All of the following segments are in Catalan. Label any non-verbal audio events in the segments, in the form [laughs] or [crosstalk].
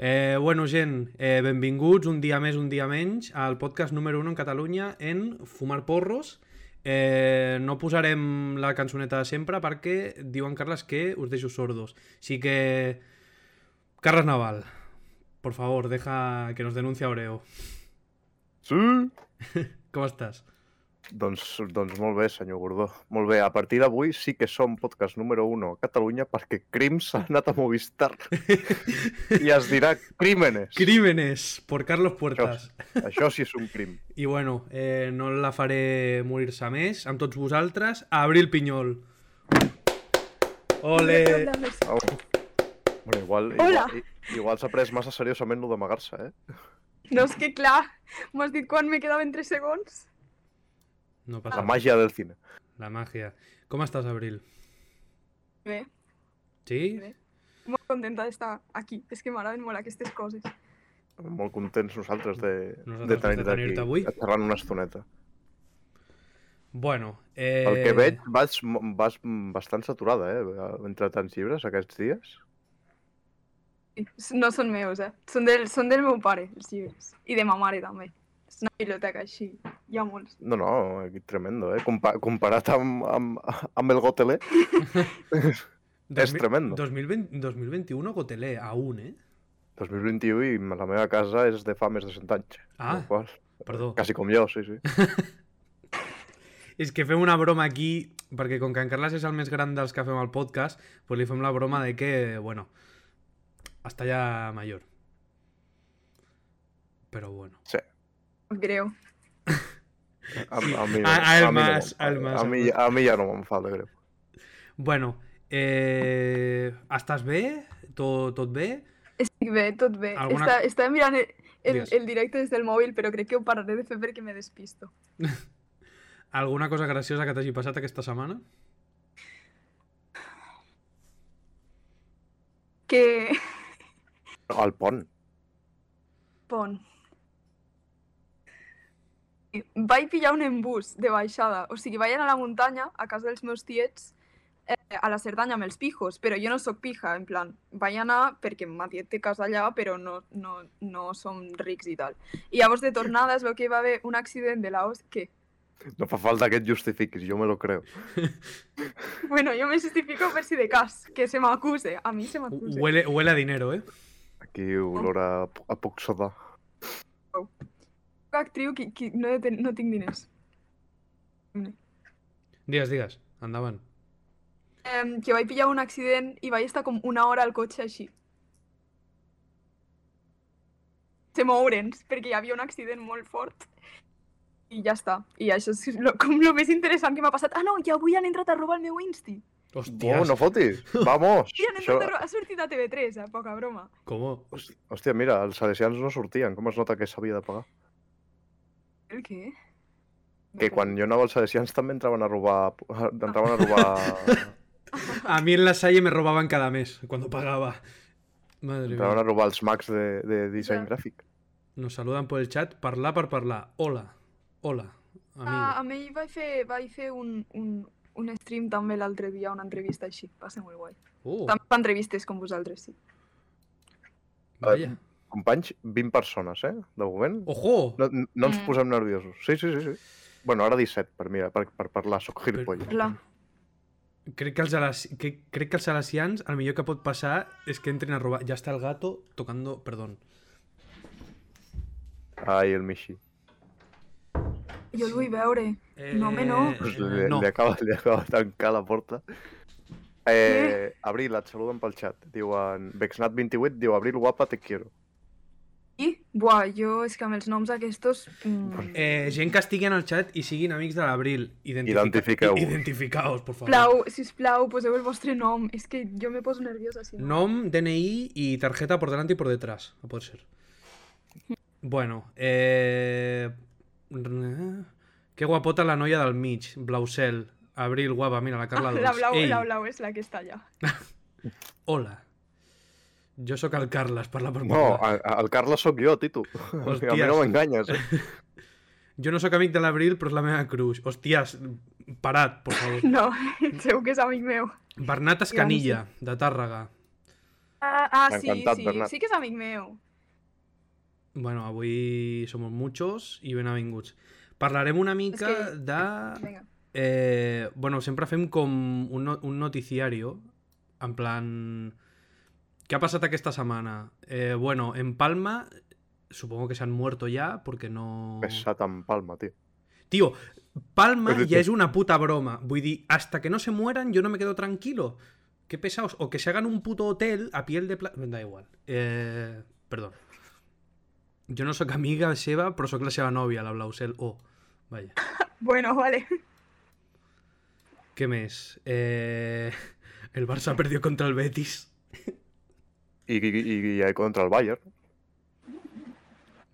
Eh, bueno, gent, eh, benvinguts un dia més, un dia menys al podcast número 1 en Catalunya en Fumar Porros. Eh, no posarem la cançoneta de sempre perquè diuen, Carles, que us deixo sordos. Així que... Carles Naval, por favor, deja que nos denuncia Oreo. Sí? Com estàs? Doncs, doncs molt bé, senyor Gordó. Molt bé, a partir d'avui sí que som podcast número 1 a Catalunya perquè Crims ha anat a Movistar i es dirà Crímenes. Crímenes por Carlos Puertas. Això sí és un crim. I bueno, eh, no la faré morir-se més. Amb tots vosaltres, Abril Pinyol. Ole! Au. Bueno, igual, Hola. igual, i- igual s'ha pres massa seriosament lo d'amagar-se, eh? No, és que clar, m'ho has dit quan me quedaven 3 segons. No La passa res, màgia del cine. la màgia. Com estàs, Abril? Bé, Sí? Bé. molt contenta d'estar aquí. És que m'agraden molt aquestes coses. Molt contents nosaltres de, Nosaltres de de tenir-te tenir-te aquí, avui. xerrant una estoneta. Bueno, eh... Pel que veig, vas, mo- vas bastant saturada, eh? Entre tants llibres aquests dies. I No són meus, eh? Són del, són del meu pare, els llibres. I de ma mare, també. És una biblioteca així. Hi ha molts. No, no, aquí tremendo, eh? Compa comparat amb, amb, amb el Gotelé, és tremendo. 2020, 2021 Gotelé, aún, eh? 2021 i la meva casa és de fa més de 100 anys. Ah. Amb la Qual, Perdó. quasi com jo, sí, sí. És que fem una broma aquí, perquè com que en Carles és el més gran dels que fem al podcast, pues li fem la broma de que, bueno, hasta ya mayor. Però bueno. Sap greu. A, a mi, A- a ell mi no més, m'enfa- a ell més, a, a mi, més. a mi ja no me'n fa de greu. Bueno, eh, estàs bé? Tot, tot bé? Estic bé, tot bé. Alguna- Alguna... Està, estava mirant el, el, Digues. el directe des del mòbil, però crec que ho pararé de fer perquè me despisto. Alguna cosa graciosa que t'hagi passat aquesta setmana? Que... No, el pont. Pont. Vaig pillar un embús de baixada. O sigui, vaig anar a la muntanya, a casa dels meus tiets, eh, a la Cerdanya amb els pijos, però jo no sóc pija, en plan, vaig anar perquè ma tiet té casa allà, però no, no, no som rics i tal. I llavors de tornada es veu que hi va haver un accident de laos que, No fa falta que et justifiquis, jo me lo creo. bueno, jo me justifico per si de cas, que se m'acuse, a mi se m'acuse. Huele, huele a dinero, eh? Aquí olor a, po- a poc sodà. Soc actriu que, que no, he de ten- no tinc diners. Digues, digues, endavant. Eh, que vaig pillar un accident i vaig estar com una hora al cotxe així. Se moure'ns, perquè hi havia un accident molt fort. I ja està. I això és lo, com el més interessant que m'ha passat. Ah, no, i avui han entrat a robar el meu Insti. Oh, Hòsties, no fotis! Vamos! I han entrat a robar... Ha sortit a TV3, a eh, poca broma. com... Hòstia, mira, els salesians no sortien. Com es nota que s'havia de pagar? El què? Que quan jo anava als salesians també entraven a robar... Entraven a robar... A mí en la Salle me robaban cada mes, cuando pagaba. Madre entraven mía. a robar els mags de, de disseny Ja. gràfic. Nos saludan por el chat, parla par parla. Hola, hola, amigo. Ah, a mi vaig fer, vaig fer un, un, un stream també l'altre dia, una entrevista així. Va ser molt guai. Oh, També fa entrevistes com vosaltres, sí. vaya. Companys, 20 persones, eh? De moment. ¡Ojo! No, no ens Mm. posem nerviosos. Sí, sí, sí. sí. Bueno, ara 17, per, mira, per, per parlar, soc gilipolles. Però- Clar. Crec que, els alaci- que, crec que els salesians el millor que pot passar és que entren a robar. Ja està el gato tocando... Perdón. Ai, el Michi. Jo el vull veure. Eh, No, home, no. eh, Pues li, no. li, acaba, li acaba de tancar la porta. Eh, Abril, et saluden pel xat. Diuen... Vexnat28 diu Abril, guapa, te quiero. I, buah, jo és que amb els noms aquests... Mm, Eh, gent que estigui en el chat i siguin amics de l'abril. Identifica... Identifiqueu-vos. Identificaos, por favor. Plau, sisplau, poseu el vostre nom. És que jo me poso nerviosa, si no. Nom, DNI y tarjeta por delante y por detrás, a poder ser. Bueno, eh... Qué guapota la noia del mig, Blausel. Abril, guapa, mira, la [laughs] Carla Ah, Dols. la blau, Ei, la blau és la que està allà. [laughs] hola. Jo sóc el Carles, parla per No, parlar. a- a- el Carles sóc jo, Tito. Hòsties. Oh. A mi no m'enganyes. Eh? Jo no sóc amic de l'Abril, però és la meva cruix. Hòsties, parat, [laughs] por favor. No, segur que és amic meu. Bernat Escanilla, de Tàrrega. Ah, M'ha sí, encantat, sí, Bernat. sí que és amic meu. Bueno, avui som muchos i benvinguts. Parlarem una mica És que- de... Vinga. Eh, bueno, sempre fem com un, no- un noticiario, en plan... ¿Qué ha pasado aquesta semana? Eh, bueno, en Palma supongo que se han muerto ya porque no... Pesat en palma, tio. Tío, Palma Pero- ya es una puta broma. Voy hasta que no se mueran, yo no me quedo tranquilo. Qué pesados. O que se hagan un puto hotel a piel de pla... Da igual. Eh, perdón. Yo no soy amiga de Seba, pero soy la Seba novia, la Blausel. Oh, vaya. Bueno, vale. ¿Qué mes? Eh, [laughs] el Barça perdió contra el Betis. I, i, i, i contra el Bayern.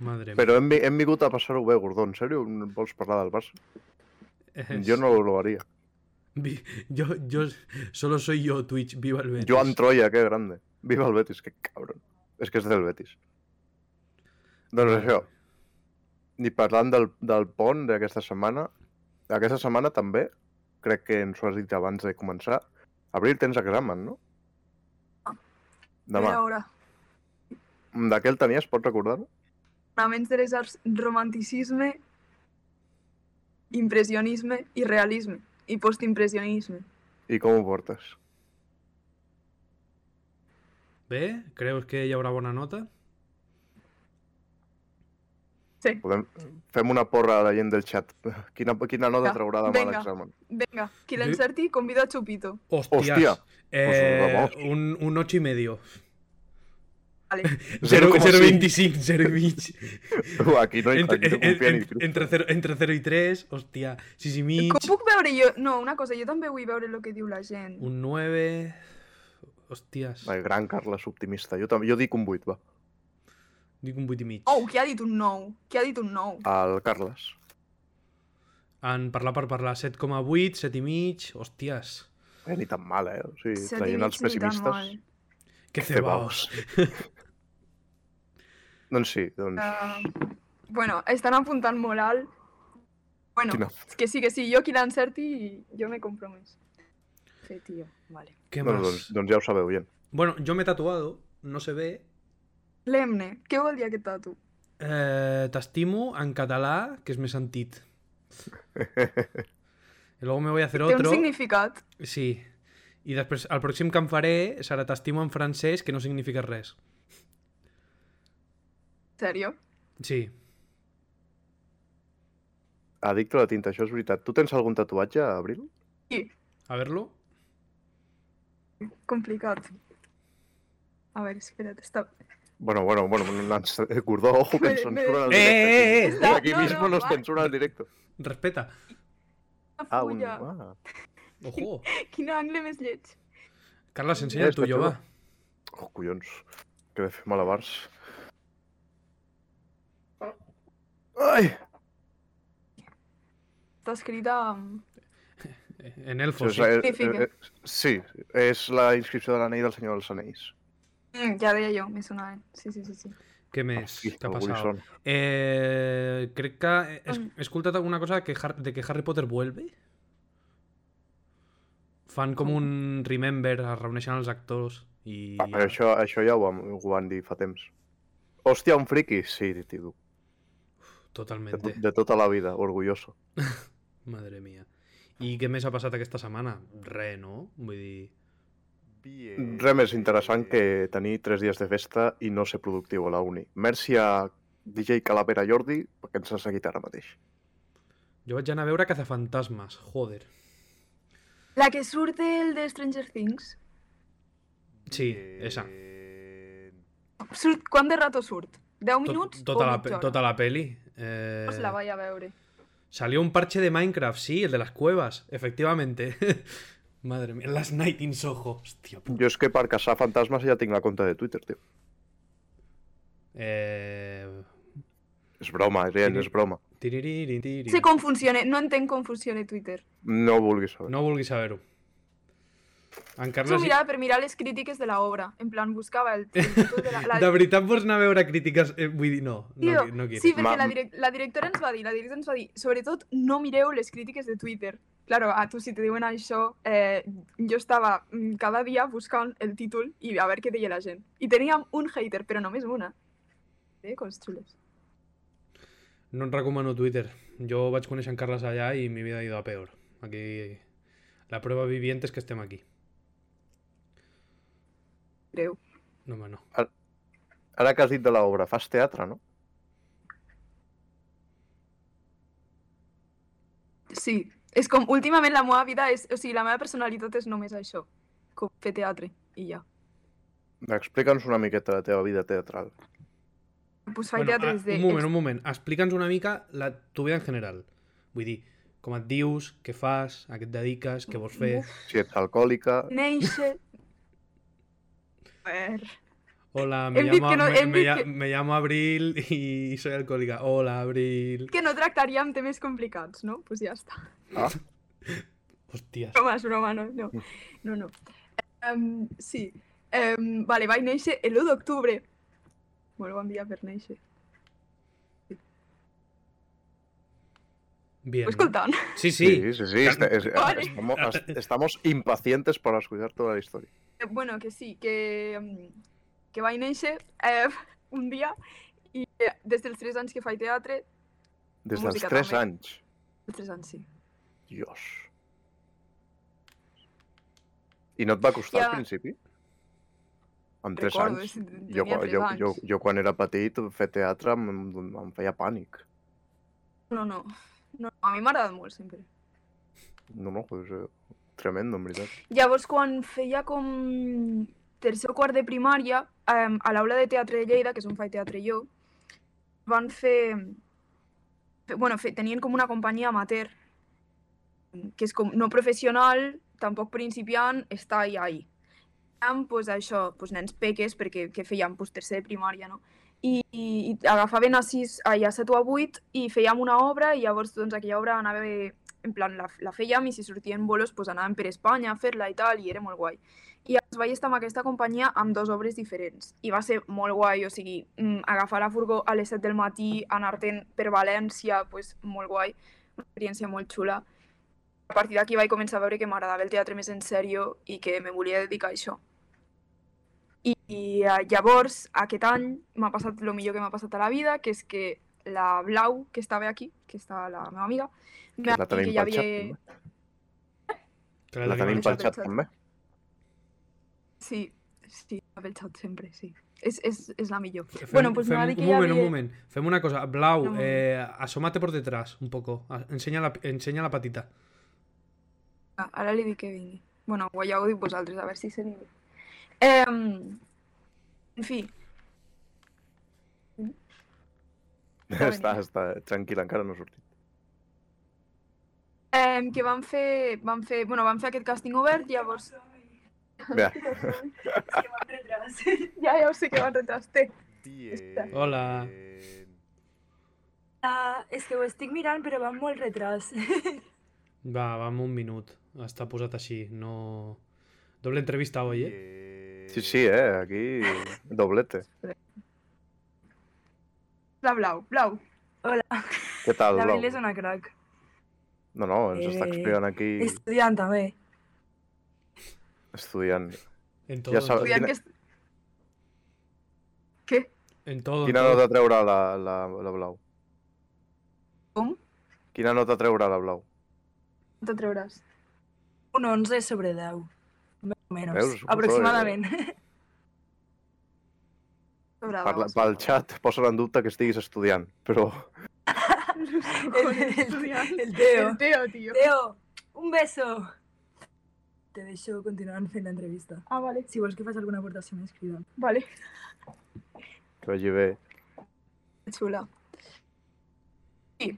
Madre mía. Però hem, vi- hem vingut a passar-ho bé, Gordó. En sèrio, no vols parlar del Barça? Es- Jo no ho haria. Vi- Yo, yo- solo soy yo, Twitch. Viva el Betis. Joan Troya, qué grande. Viva el Betis, qué cabrón. És que és del Betis. Doncs això, ni parlant del, del pont d'aquesta setmana, aquesta setmana també, crec que ens ho has dit abans de començar, abril tens examen, no? Demà. A veure, De què el tenies, pots recordar-ho? fonaments de les arts, romanticisme, impressionisme i realisme. I postimpressionisme. I com ho portes? ¿Ve? ¿Crees que ya habrá buena nota? Podem... Fem una porra a la gent del xat. Quina, quina nota Va, traurà demà vinga. l'examen? Vinga, qui Jo- l'encerti convida a Chupito. Hostias. Hostia. Eh, Pues un, un 8 y medio. Vale. 0, 0,5. 0,25, 0 y mig. Aquí no, Entre, aquí no en- confia ni en- Cristo. entre, 0, entre 0 i 3, hòstia, 6 [laughs] i mig, Com puc veure jo? No, una cosa, jo també vull veure el que diu la gent. un 9... Hòsties, El gran Carles optimista. Jo, tam- jo dic un 8, va. dic un 8 i mig. Oh, qui ha dit un 9? Qui ha dit un 9? El Carles. En parlar per parlar, 7,8, 7 i mig, hòsties. Eh, ni tan mal, eh? O sigui, Set i traient mig els ni tan pessimistes... mal. Que [laughs] Té cebaos. doncs sí, doncs... Ah, bueno, estan apuntant molt alt. Bueno, Quina- és que sí, que sí, jo qui l'encerti, jo me comprometo. Sí, tio, vale. Què Bueno, més? doncs, doncs ja ho sabeu, gent. Bueno, jo m'he tatuado, no se ve, L'Emne, què vol dir aquest tatu? eh, t'estimo en català, que és més sentit. I luego me voy a hacer Té un otro. significat. Sí. I després, el pròxim que em faré serà t'estimo en francès, que no significa res. Sèrio? Sí. Addicte a la tinta, això és veritat. Tu tens algun tatuatge, Abril? A ver-lo. Complicat. A veure, espera't, està... Bueno, bueno, bueno, no ens... [laughs] Gordó, ojo, que ens Me- me- censuren en Eh, eh, directe. eh, aquí. Aquí eh. No, no, mismo nos va. censuran en directe. Respeta. Una Ah, un... fulla. Ah. [laughs] Ojo. Quin angle més lleig. Carles, ensenya el Està tuyo, xulo. va. Oh, collons. Que de fer malabars. Ai! Està escrita mm, amb... En elfo, Això és, sí. eh, Significa. eh, eh, sí, és la inscripció de l'anell del Senyor dels Anells. Mm, ja deia jo, me sonava. Sí, sí, sí, sí. Què més Sí, t'ha alguns passat? són. Eh, crec que he, Mm. he escoltat alguna cosa que Har de que Harry Potter vuelve? Fan com un remember, es reuneixen els actors i... Ah, però això, això ja ho, vam- ho van dir fa temps. Hòstia, un friki? Sí, tio. De, Totalmente. to- de tota la vida, orgulloso. Madre mía. I què més ha passat aquesta setmana? Re, no? Vull dir... Res més interessant que tenir tres dies de festa i no ser productiu a la uni. Merci a DJ Calavera Jordi, perquè ens ha seguit ara mateix. Jo vaig anar a veure Cazafantasmes, joder. La que surt el de Stranger Things. Sí, Eh, esa. Surt, quant de rato surt? 10 Tot, minuts tota, o la, mitja pe- hora? tota la peli. Eh... Pues la vaig a veure. Salió un parche de Minecraft, sí, el de las cuevas, efectivamente. [laughs] Madre mía, Last Night in Soho. Hostia puta. Jo és que per caçar fantasmes ja tinc la compte de Twitter, tio. Eh... És broma, gent, és broma. tiriririn, tirin. No sé com funciona, no entenc com funciona Twitter. No ho vulguis saber. No vulguis saber-ho. En Això ho Carles... i- mirava per mirar les crítiques de l'obra. En plan, buscava [laughs] el... el títol de la, la... De veritat vols anar a veure crítiques... Eh, vull dir, no, no, Tio, qui- no quiero. sí, perquè Ma- la, direc la directora ens va dir, la directora ens va dir, sobretot no mireu les crítiques de Twitter. Claro, a tu si te diuen això, eh, jo estava mm, cada dia buscant el títol i a veure què deia la gent. I teníem un hater, però només una. Eh, coses xules. No et recomano Twitter. Jo vaig conèixer en Carles allà i mi vida ha ido a peor. Aquí... La prueba viviente és que estem aquí. Greu. No, home, no. Ara que has dit de l'obra, fas teatre, no? Sí, és com, últimament la meva vida és, o sigui, la meva personalitat és només això, com fer teatre, i ja. Explica'ns una miqueta la teva vida teatral. Pues faig bueno, teatre ah, des de... Un moment, un moment. Explica'ns una mica la tu vida en general. Vull dir, com et dius, què fas, a què et dediques, què vols fer... Si ets alcohòlica... Néixer... A veure... Hola, me Hem dit llamo, que no- me, hem me dit lla- que- me llamo Abril [laughs] y soy alcohólica. Hola, Abril. Que no tractaríem temes complicats, no? Doncs pues ja està. Ah, Hostias. Broma, és broma, no, no. No, no. Um, sí. Um, vale, vaig néixer el 1 d'octubre. Molt bon dia per néixer. Bien. Ho escoltant. Sí, sí. sí, sí, sí. sí. Est es- Vale. estamos, est- estamos impacientes por escuchar toda la historia. Eh, Bueno, que sí, que, mm, que vaig néixer eh, un dia i eh, des dels 3 anys que faig teatre, Des dels Música 3 també. anys. els 3 anys sí. Dios. I no et va costar Ja. al principi? Amb 3 Recordo, anys? és- Jo, tenia quan- 3 jo, anys. jo, jo quan era petit, fer teatre em, em feia pànic. No, no, no, a mi m'ha agradat molt sempre. No, no, pues, eh, tremendo, en veritat. Llavors, quan feia com tercer o quart de primària, em, a l'aula de teatre de Lleida, que és on faig teatre jo, van fer... fe- bueno, fe, tenien com una companyia amateur, que és com no professional, tampoc principiant, està ahí, ahí. Érem, pues, això, pues, nens peques, perquè que fèiem pues, tercer de primària, no? I, i, i agafaven a, sis, ai, a 7 o a 8 i fèiem una obra i llavors doncs, aquella obra anava en plan, la, la fèiem i si sortien bolos pues, anàvem per Espanya a fer-la i tal, i era molt guai. I llavors vaig estar amb aquesta companyia amb dues obres diferents. I va ser molt guai, o sigui, mm, agafar la furgó a les 7 del matí, anar-te'n per València, pues, molt guai, una experiència molt xula. A partir d'aquí vaig començar a veure que m'agradava el teatre més en sèrio i que me volia dedicar a això. I, i eh, llavors, aquest any, m'ha passat el millor que m'ha passat a la vida, que és que la Blau, que estava aquí, que està la meva amiga, em Que va la dir tenim que hi pel havia... xat, també. Clar, La que tenim m'ha pel deixat. xat, també. Sí, sí, m'ha pensat sempre, sí. És, és, és la millor. Fem- bueno, pues fem- m'ha dit que un hi moment, un havia- moment. Fem una cosa. Blau, No. eh, asómate por detrás un poco. A- Enseña la, enseña la patita. Ah, ara li dic que vingui. Bueno, pues o ja ho dic vosaltres, a veure si se li ve. Eh, en fi, Està, venint. està, tranquil, encara no ha [laughs] sortit. eh, que van fer, van fer, bueno, van fer aquest càsting obert, llavors... [laughs] Bé, ja, ja ho sé que van retrasar. Bien. Hola. Ah, és que ho estic mirant, però va amb molt retras. [laughs] Va, va amb un minut. Està posat així. No... Doble entrevista hoy, eh? Sí, sí, eh? Aquí, doblete. La Blau, Blau. Hola, Què tal, la Blau? Bill és una crac. No, no, ens està Eh, explicant aquí Estudiant també. estudiant. En todo, Ja en sabes- todo, Estudiant quina- que... est- Què? en todo, en Quina todo. nota treurà la, la, la Blau? Com? Quina nota treurà la Blau? No te treuràs. Un 11 sobre 10. Més o menys, Veus? Ho aproximadament. eh? T'agrada, Per, la, o sigui. pel xat posen en dubte que estiguis estudiant, però El- Estudiant. el Teo. El Teo, tio. Teo, un beso! Te deixo continuar fent l'entrevista. Ah, vale, Si vols que faci alguna aportació més, crida. vale. que vagi bé. Xula. Sí,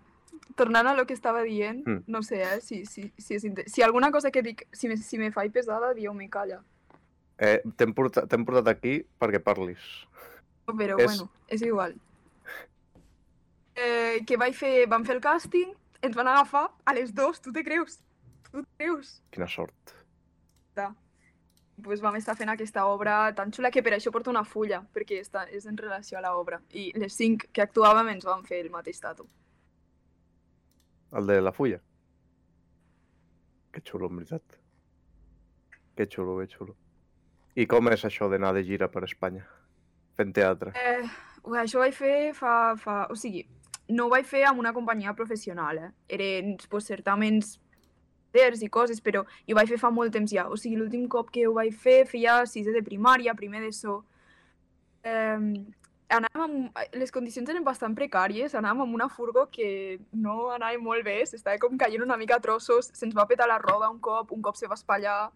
tornant a lo que estava dient, Mm. no sé, eh, si, si, si, és inte- si alguna cosa que dic, si me, si me faig pesada, dieu-me calla. Eh, T'hem portat, t'hem portat aquí perquè parlis. Però És- bueno, és igual. Eh, que vaig fer, vam fer el càsting, ens van agafar a les dues, tu te creus? Tu te creus? Quina sort. Pues vam estar fent aquesta obra tan xula que per això porto una fulla, perquè està, és en relació a l'obra. I les cinc que actuàvem ens van fer el mateix tatu. El de la fulla. Que xulo, en veritat. Que xulo, que xulo. I com és això d'anar de gira per Espanya? Fent teatre. Eh, ui, això ho vaig fer fa, fa... O sigui, no ho vaig fer amb una companyia professional, eh? Eren pues, certaments certs i coses, però jo ho vaig fer fa molt temps ja. O sigui, l'últim cop que ho vaig fer feia sisè de primària, primer d'ESO. Eh, anàvem amb... Les condicions eren bastant precàries, anàvem amb una furgo que no anava molt bé, s'estava com caient una mica a trossos, se'ns va petar la roda un cop, un cop se va espatllar...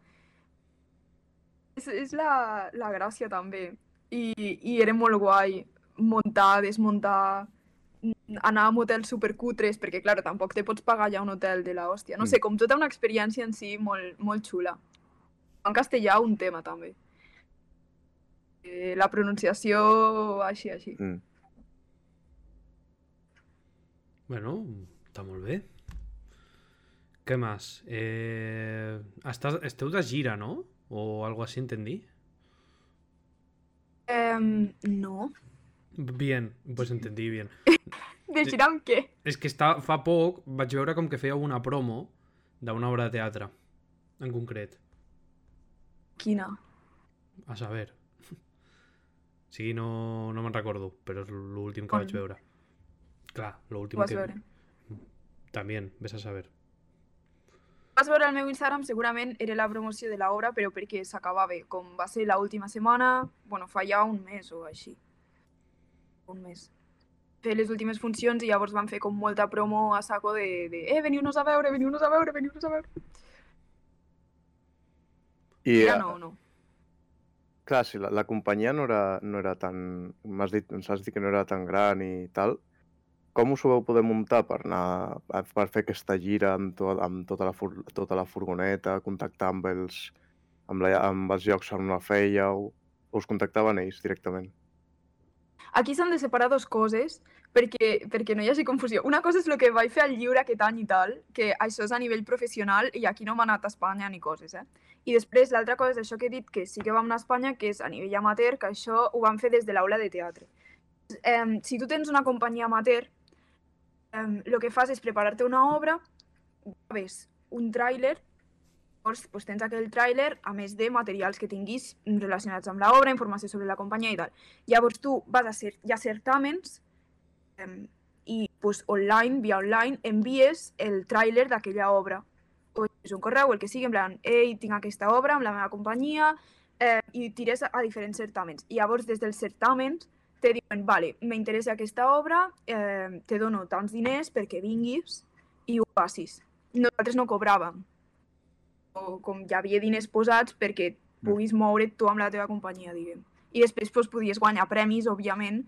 És, és la, la gràcia, també. I, I era molt guai muntar, desmuntar, mm, anar a motels supercutres, perquè, clar, tampoc te pots pagar ja un hotel de la hòstia. No Mm. sé, com tota una experiència en si molt, molt xula. En castellà, un tema, també. Eh, la pronunciació, així, així. Mm. Bueno, està molt bé. Què més? Eh, estàs, esteu de gira, no? O algo així, entendí? Eh, no. Bien, pues entendí bien. De Sí. gira amb què? És que està, fa poc vaig veure com que fèieu una promo d'una obra de teatre, en concret. Quina? A saber. [laughs] Sí, no, no me'n recordo, però és l'últim que On? vaig veure. Clar, Ho l'últim vas que... veure? També, vés a saber. Vas veure el meu Instagram, segurament era la promoció de l'obra, però perquè s'acabava. Com va ser l'última setmana, bueno, fa ja un mes o així. Un mes. Fer les últimes funcions i llavors van fer com molta promo a saco de, de eh, veniu-nos a veure, veniu-nos a veure, veniu-nos a veure. I, Yeah. Ja eh, no, no. clar, si la, la companyia no era, no era tan... M'has dit, ens has dit que no era tan gran i tal. Com us ho vau poder muntar per anar, a- per fer aquesta gira amb, to, amb tota, la fur, tota la furgoneta, contactar amb els, amb, la, amb els llocs on la fèieu? Us contactaven ells directament? Aquí s'han de separar dues coses perquè, perquè no hi hagi confusió. Una cosa és el que vaig fer al lliure aquest any i tal, que això és a nivell professional i aquí no m'ha anat a Espanya ni coses, eh? I després l'altra cosa és això que he dit, que sí que vam anar a Espanya, que és a nivell amateur, que això ho vam fer des de l'aula de teatre. Eh, si tu tens una companyia amateur, el lo que fas és preparar-te una obra, graves un tràiler, llavors pues, tens aquell tràiler, a més de materials que tinguis relacionats amb l'obra, informació sobre la companyia i tal. Llavors tu vas a ser, hi ha certàmens em, i pues, online, via online, envies el tràiler d'aquella obra. O és un correu, el que sigui, en plan, ei, tinc aquesta obra amb la meva companyia, eh, i tires a, a diferents certàmens. I llavors des dels certàmens te diuen, vale, m'interessa aquesta obra, eh, te dono tants diners perquè vinguis i ho passis. Nosaltres no cobràvem. O, com hi havia diners posats perquè puguis moure't tu amb la teva companyia, diguem. I després doncs, podies guanyar premis, òbviament,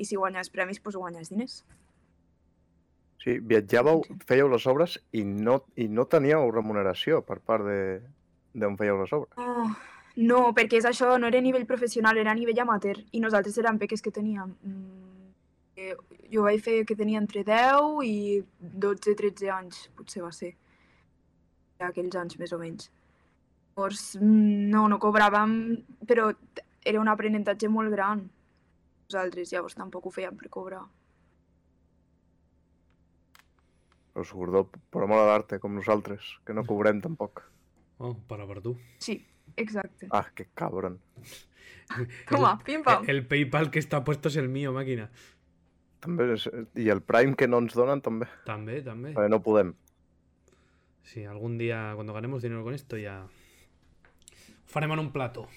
i si guanyes premis, doncs guanyes diners. Sí, viatjàveu, Doncs Sí. fèieu les obres i no, i no teníeu remuneració per part de d'on fèieu les obres. Oh, no, perquè és això, no era a nivell professional, era a nivell amateur, i nosaltres eren peques que teníem. Mm, eh, jo vaig fer que tenia entre 10 i 12-13 anys, potser va ser. Aquells anys, més o menys. Llavors, mm, no, no cobràvem, però t- era un aprenentatge molt gran. Nosaltres llavors tampoc ho fèiem per cobrar. Us gordó, però molt d'arte, com nosaltres, que no cobrem tampoc. Oh, para per tu. Sí, exacte. Ah, que cabron. Toma, pim-pam. El, el PayPal que està puesto és el mío, màquina. També és, I el Prime que no ens donen també, També, també. perquè no podem. Sí, algún día, cuando ganemos dinero con esto, ya... Faremos en un plato.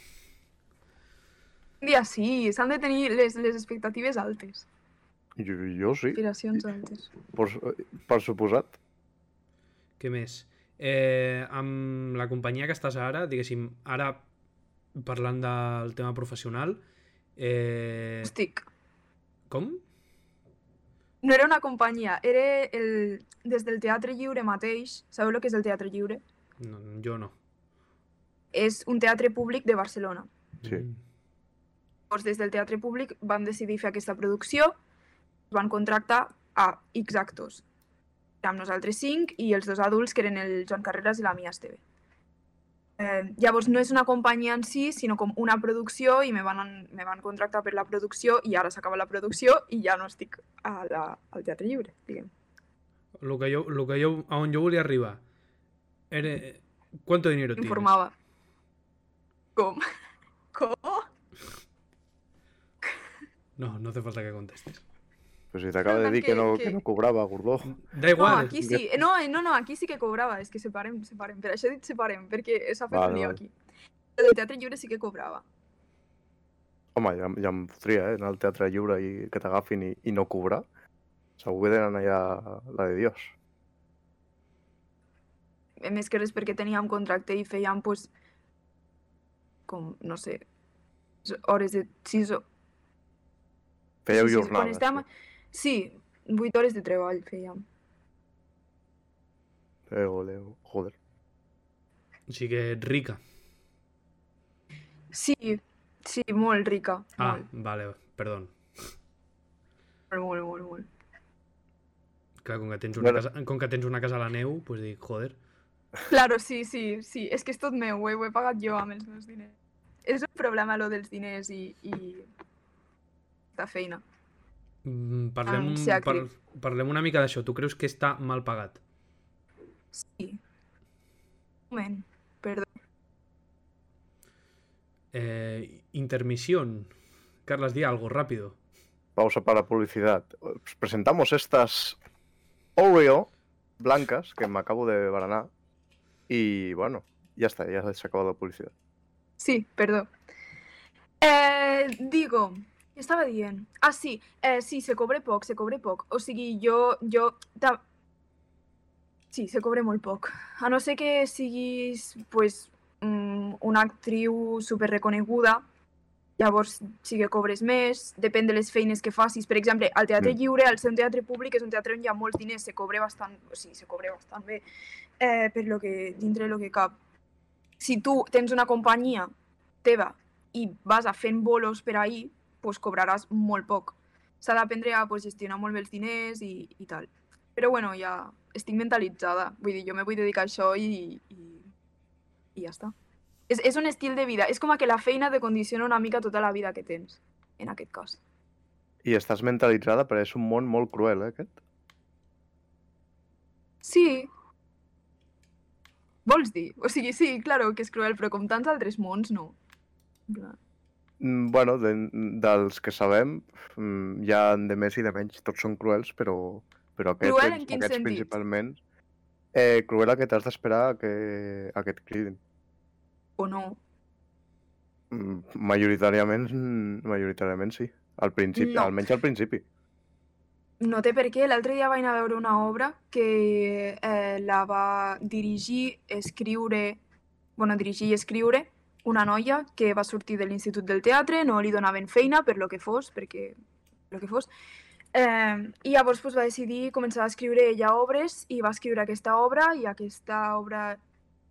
Un dia sí, s'han de tenir les, les expectatives altes, Jo, jo sí, aspiracions altes. per, per suposat. Què més? Eh, amb la companyia que estàs ara, diguéssim, ara parlant del tema professional, eh, Estic. com? No era una companyia, era el, des del Teatre Lliure mateix. Sabeu el que és el Teatre Lliure? No, jo no. És un teatre públic de Barcelona. Sí. Mm. Llavors, des del teatre públic van decidir fer aquesta producció, van contractar a X actors. Érem nosaltres cinc i els dos adults, que eren el Joan Carreras i la Mia Esteve. Eh, llavors, no és una companyia en si, sinó com una producció i me van, me van contractar per la producció i ara s'acaba la producció i ja no estic a la, al Teatre Lliure, diguem. Lo que jo, lo que jo, a on jo volia arribar. Ere- ¿Cuánto dinero tienes? Informaba. ¿Cómo? ¿Cómo? No, no hace falta que contestes. Pues si t'acaba de dir que no, que no cobrava, gordó. Da No, igual. aquí sí. Eh, No, eh, no, no, aquí sí que cobrava. És que separem, separem. Per això he dit separem, perquè s'ha fet Vale, un lío vale. aquí. El teatre lliure sí que cobrava. Home, ja, ja em fotria, eh? Anar al teatre lliure i que t'agafin i, i no cobrar. Segur que tenen allà la de Dios. Eh, Més que res perquè teníem contracte i fèiem, pues, com, no sé, s- hores de 6 o... Fèieu sí, sí, quan jornades. estàvem... Sí, 8 hores de treball fèiem. Leo, Leo. Joder. Sí que ets rica. Sí, sí, molt rica. Ah, Molt, vale, perdón. molt, molt, molt, molt. Clar, com que tens una, Bueno. casa, com que tens una casa a la neu, pues dic, joder. Claro, sí, sí, sí. És que és tot meu, eh? ho he pagat jo amb els meus diners. És un problema, lo dels diners i, i la feina. Mm, Parlem, Ah, un- ser actriu. par, parlem una mica d'això. Tu creus que està mal pagat? Sí. Un moment, perdó. Eh, intermisión. Carlas, di algo, rápido. Pausa para publicidad. Os presentamos estas Oreo blancas que me acabo de baranar. Y bueno, ya está, ya se ha acabado la publicidad. Sí, perdó. Eh, digo, què estava dient? Ah, sí, eh, sí, se cobre poc, se cobre poc. O sigui, jo... jo ta... Sí, se cobre molt poc. A no ser que siguis, pues, mm, una actriu super reconeguda, llavors sí que cobres més, depèn de les feines que facis. Per exemple, al Teatre Mm. Lliure, al ser un teatre públic, és un teatre on hi ha molts diners, se cobre bastant, o sigui, se cobre bastant bé, eh, per lo que, dintre lo que cap. Si tu tens una companyia teva i vas a fent bolos per ahir, pues cobraràs molt poc. S'ha d'aprendre a pues, gestionar molt bé els diners i, i tal. Però bueno, ja estic mentalitzada. Vull dir, jo me vull dedicar a això i, i, i ja està. És, és un estil de vida. És com a que la feina te condiciona una mica tota la vida que tens, en aquest cas. I estàs mentalitzada, però és un món molt cruel, eh, aquest? Sí. Vols dir? O sigui, sí, claro que és cruel, però com tants altres mons, no. En plan, Mm, Bueno, de, dels que sabem, mm, hi ha de més i de menys, tots són cruels, però, però aquests, Cruel en aquests- quin aquests sentit? principalment... Eh, cruel a que t'has d'esperar a que, a que et cridin. O no. Mm, Majoritàriament, mm, majoritàriament sí. Al principi, No. almenys al principi. No té per què. L'altre dia vaig anar a veure una obra que eh, la va dirigir, escriure... bueno, dirigir i escriure una noia que va sortir de l'Institut del Teatre, no li donaven feina per lo que fos, perquè lo que fos. Eh, I llavors pues, va decidir començar a escriure ella obres i va escriure aquesta obra i aquesta obra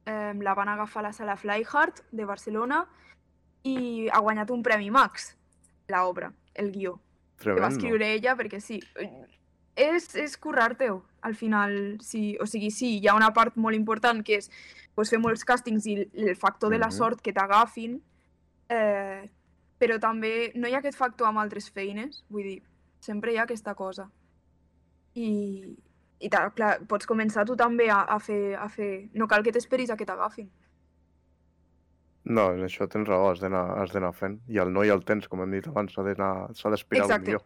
eh, la van agafar a la sala Flyhard de Barcelona i ha guanyat un premi Max, l'obra, el guió que va Tremendo. escriure ella, perquè sí. eh, És, és currar-te-ho, al final. Sí, o sigui, sí, hi ha una part molt important que és pues, fer molts càstings i l- el factor de la Mhm. sort que t'agafin, eh, però també no hi ha aquest factor amb altres feines, vull dir, sempre hi ha aquesta cosa. I, i ta- clar, pots començar tu també a, a, fer, a fer... No cal que t'esperis a que t'agafin. No, en això tens raó, has d'anar has d'anar fent. I el no i el tens, com hem dit abans, s'ha d'anar- s'ha d'aspirar un Exacte. millor.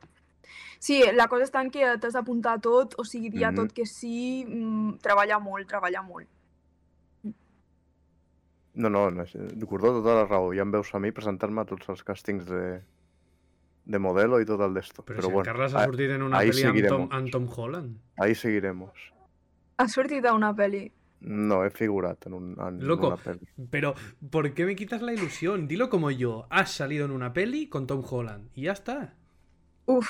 Sí, la cosa està en que t'has d'apuntar a tot, o sigui, dir a Mhm. tot que sí, mm, treballar molt, treballar molt. No, no, en això- Gordó, tota la raó. Ja em veus a mi presentar-me a tots els càstings de, de modelo i tot el d'esto. Però, Però, si el bueno, Carles ha a- sortit en una ahí pel·li amb Tom, seguiremos. amb Tom Holland. ahí seguiremos. Ha sortit a una pel·li. No, he figurat en, un, en Loco. una pel·li. Pero, ¿por qué me quitas la ilusión? Dilo como yo. Has salido en una peli con Tom Holland. Y ya está. Uf.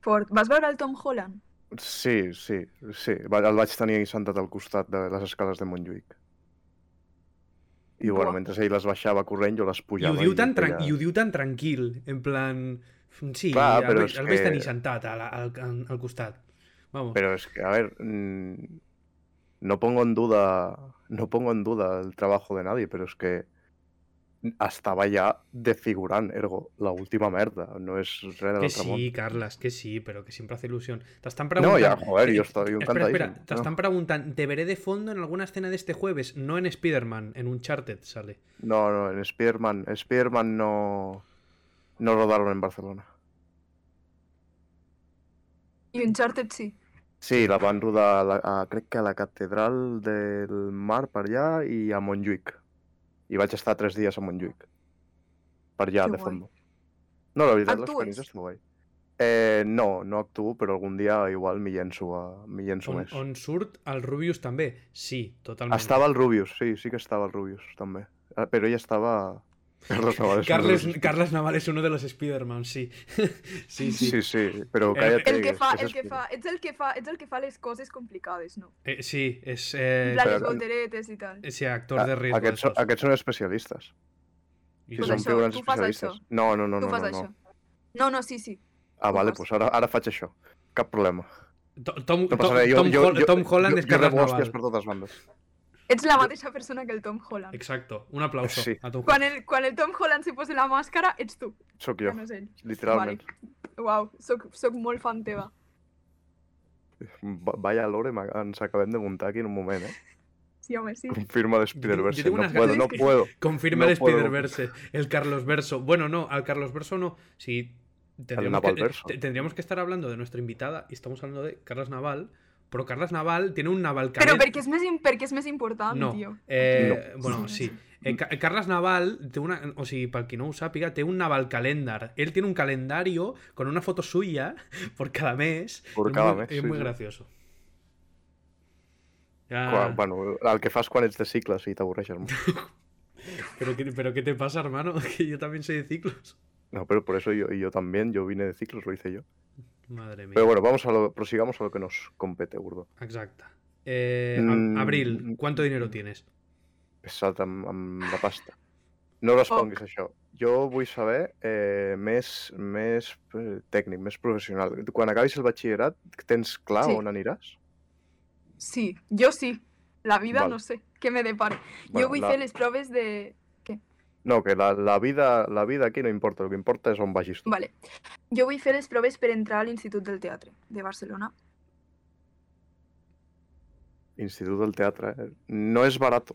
Fort. Vas veure el Tom Holland? Sí, sí, sí. Va- El vaig tenir ahí sentat al costat de les escales de Montjuïc. I bueno, Buah. mentre ell les baixava corrent, jo les Y ho pujava. diu tan, tran feia- i ho diu tan tranquil. En plan... Sí, Clar, el, però veig- és el veig que- tenir sentat al, al, al- al costat. Vamos. Pero es que, a ver, mm, no pongo en duda, no pongo en duda el trabajo de nadie, pero es que estava ja desfigurant, ergo, la última merda, no és res Que de l'altre món. sí, Carlas, que sí, pero que siempre hace ilusión. Te están No, preguntando. ja, joder, jo estava Espera, encantadíssim. espera, te están preguntando, ¿te veré de fondo en alguna escena de este jueves? No en Spider-Man, en Uncharted sale. No, no, en Spider-Man, Spider-Man no, no rodaron en Barcelona. I Uncharted sí. Sí, la van rodar, a la, a, crec que a la Catedral del Mar per allà i a Montjuïc. I vaig estar tres dies a Montjuïc. Per allà, Que de guai. Ah, fondo. No, la veritat, Actues? l'experiència està guai. Eh, no, no actuo, però algun dia igual m'hi llenço, a, m'hi llenço On, més. on surt el Rubius també? Sí, totalment. Estava el Rubius, sí, sí que estava el Rubius, també. Ah, Però ell estava... [laughs] Carles Navales. Carles, Carles Naval es uno de los Spider-Man, sí. [laughs] sí, sí. Sí, sí, però El- calla't. Sí, El que fa, és el que Spider-Man. fa, ets el que fa, ets el que fa les coses complicades, no? Eh, sí, es En eh, plan, però- les volteretes i tal. ese actor de Doncs Ah, riesgo. Aquests, esos. són- aquests són especialistes. I Sí, Pues són- són això, grans tu fas especialistes. No, no, no, Tu no, fas no, això. no. No, no, sí, sí. Ah, Tu vale, fas. doncs ara, ara faig això. Cap problema. To- Tom, No Tom- passa res. Jo, Tom jo, Hol- jo, Tom Holland jo, es jo Carles rebo hòsties Naval. per totes bandes. Ets la mateixa persona que el Tom Holland. Exacto, un aplauso Sí. a Tom Quan el, quan el Tom Holland se posa la màscara, ets tu, Sóc que jo, no és ell. literalment. Uau, soc, soc molt fan teva. Va- Vaya lore, m'ha- ens acabem de muntar aquí en un moment, eh? Sí, home, sí. Confirma Jo l'Spider-Verse. tinc No unes puedo, ganes no que- puedo. Confirma No el puedo. Spider-Verse, el Carlos Verso. Bueno, no, al Carlos Verso no. Sí, tendríamos que, eh, Navalverso. te- tendríamos que estar hablando de nuestra invitada y estamos hablando de Carlos Naval, pero Carlos Naval tiene un Naval Però Canet. perquè és més, im- perquè és més important, No. tio. Eh, Bueno, Sí. sí. Eh, Ca- Carlos Naval, té una, o sigui, para quien no ho sàpiga, té un Naval Calendar. Él tiene un calendario con una foto suya [laughs] por cada mes. Por Es cada muy- mes, Es sí, muy sí. gracioso. Ya- Quan, bueno, el que fas quan ets de cicles i t'avorreixes molt. pero, qué, pero ¿qué te pasa, hermano? [laughs] Que yo también soy de ciclos. No, pero por eso yo, y yo también, yo vine de ciclos, lo hice yo. Madre mía. Pero bueno, vamos a lo, prosigamos a lo que nos compete, Urdo. Exacta. Eh, a- Mm. Abril, ¿cuánto dinero tienes? Pesat amb, amb la pasta. No Oh. responguis a això. Jo vull saber eh, més, més eh, tècnic, més professional. Quan acabis el batxillerat, tens clar Sí. on aniràs? Sí, jo sí. La vida, Val. no sé, què me depara. Bueno, jo vull la- fer les proves de... No, que la, la, vida, la vida aquí no importa, el que importa és on vagis tu. Vale. Jo vull fer les proves per entrar a l'Institut del Teatre de Barcelona. Institut del Teatre. eh? No és barat.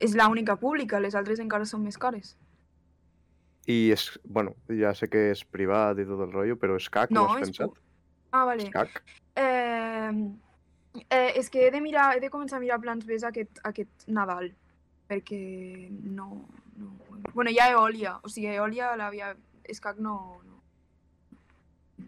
És l'única pública, les altres encara són més cares. I és, bueno, ja sé que és privat i tot el rotllo, però és cac, No, no, has és pensat? públic. Ah, vale. És cac? Eh, eh, és que he de, mirar, he de començar a mirar plans B aquest, aquest Nadal, perquè no... no... bueno, hi ha Eòlia, o sigui, Eòlia l'havia... És que no... no.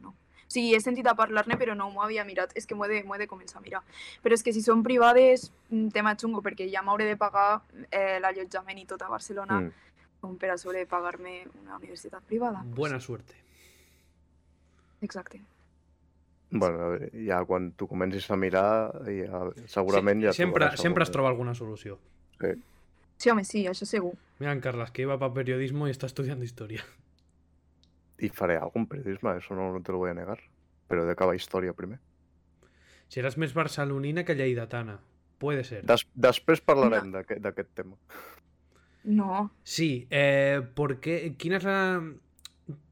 no. O sigui, he sentit a parlar-ne, però no m'ho havia mirat. És que m'ho he, de, m'ho he de començar a mirar. Però és que si són privades, mm, tema xungo, perquè ja m'hauré de pagar eh, l'allotjament i tot a Barcelona, Mm. com per a sobre pagar-me una universitat privada. Buena suerte. Exacte. Bueno, a veure, ja quan tu comencis a mirar, ja, segurament Sí, ja sempre, trobaràs sempre es alguna. troba alguna solución. Sí, home, sí, això segur. Miran, Carlas, que iba para periodismo y está estudiando historia. [laughs] Y faré algún periodismo, eso no, no te lo voy a negar. Pero de cada historia primero. Serás más barcelonina que lleidatana. Puede ser. Des, després parlarem d'aquest- d'aquest tema. No, Sí, eh, porque ¿quién es la...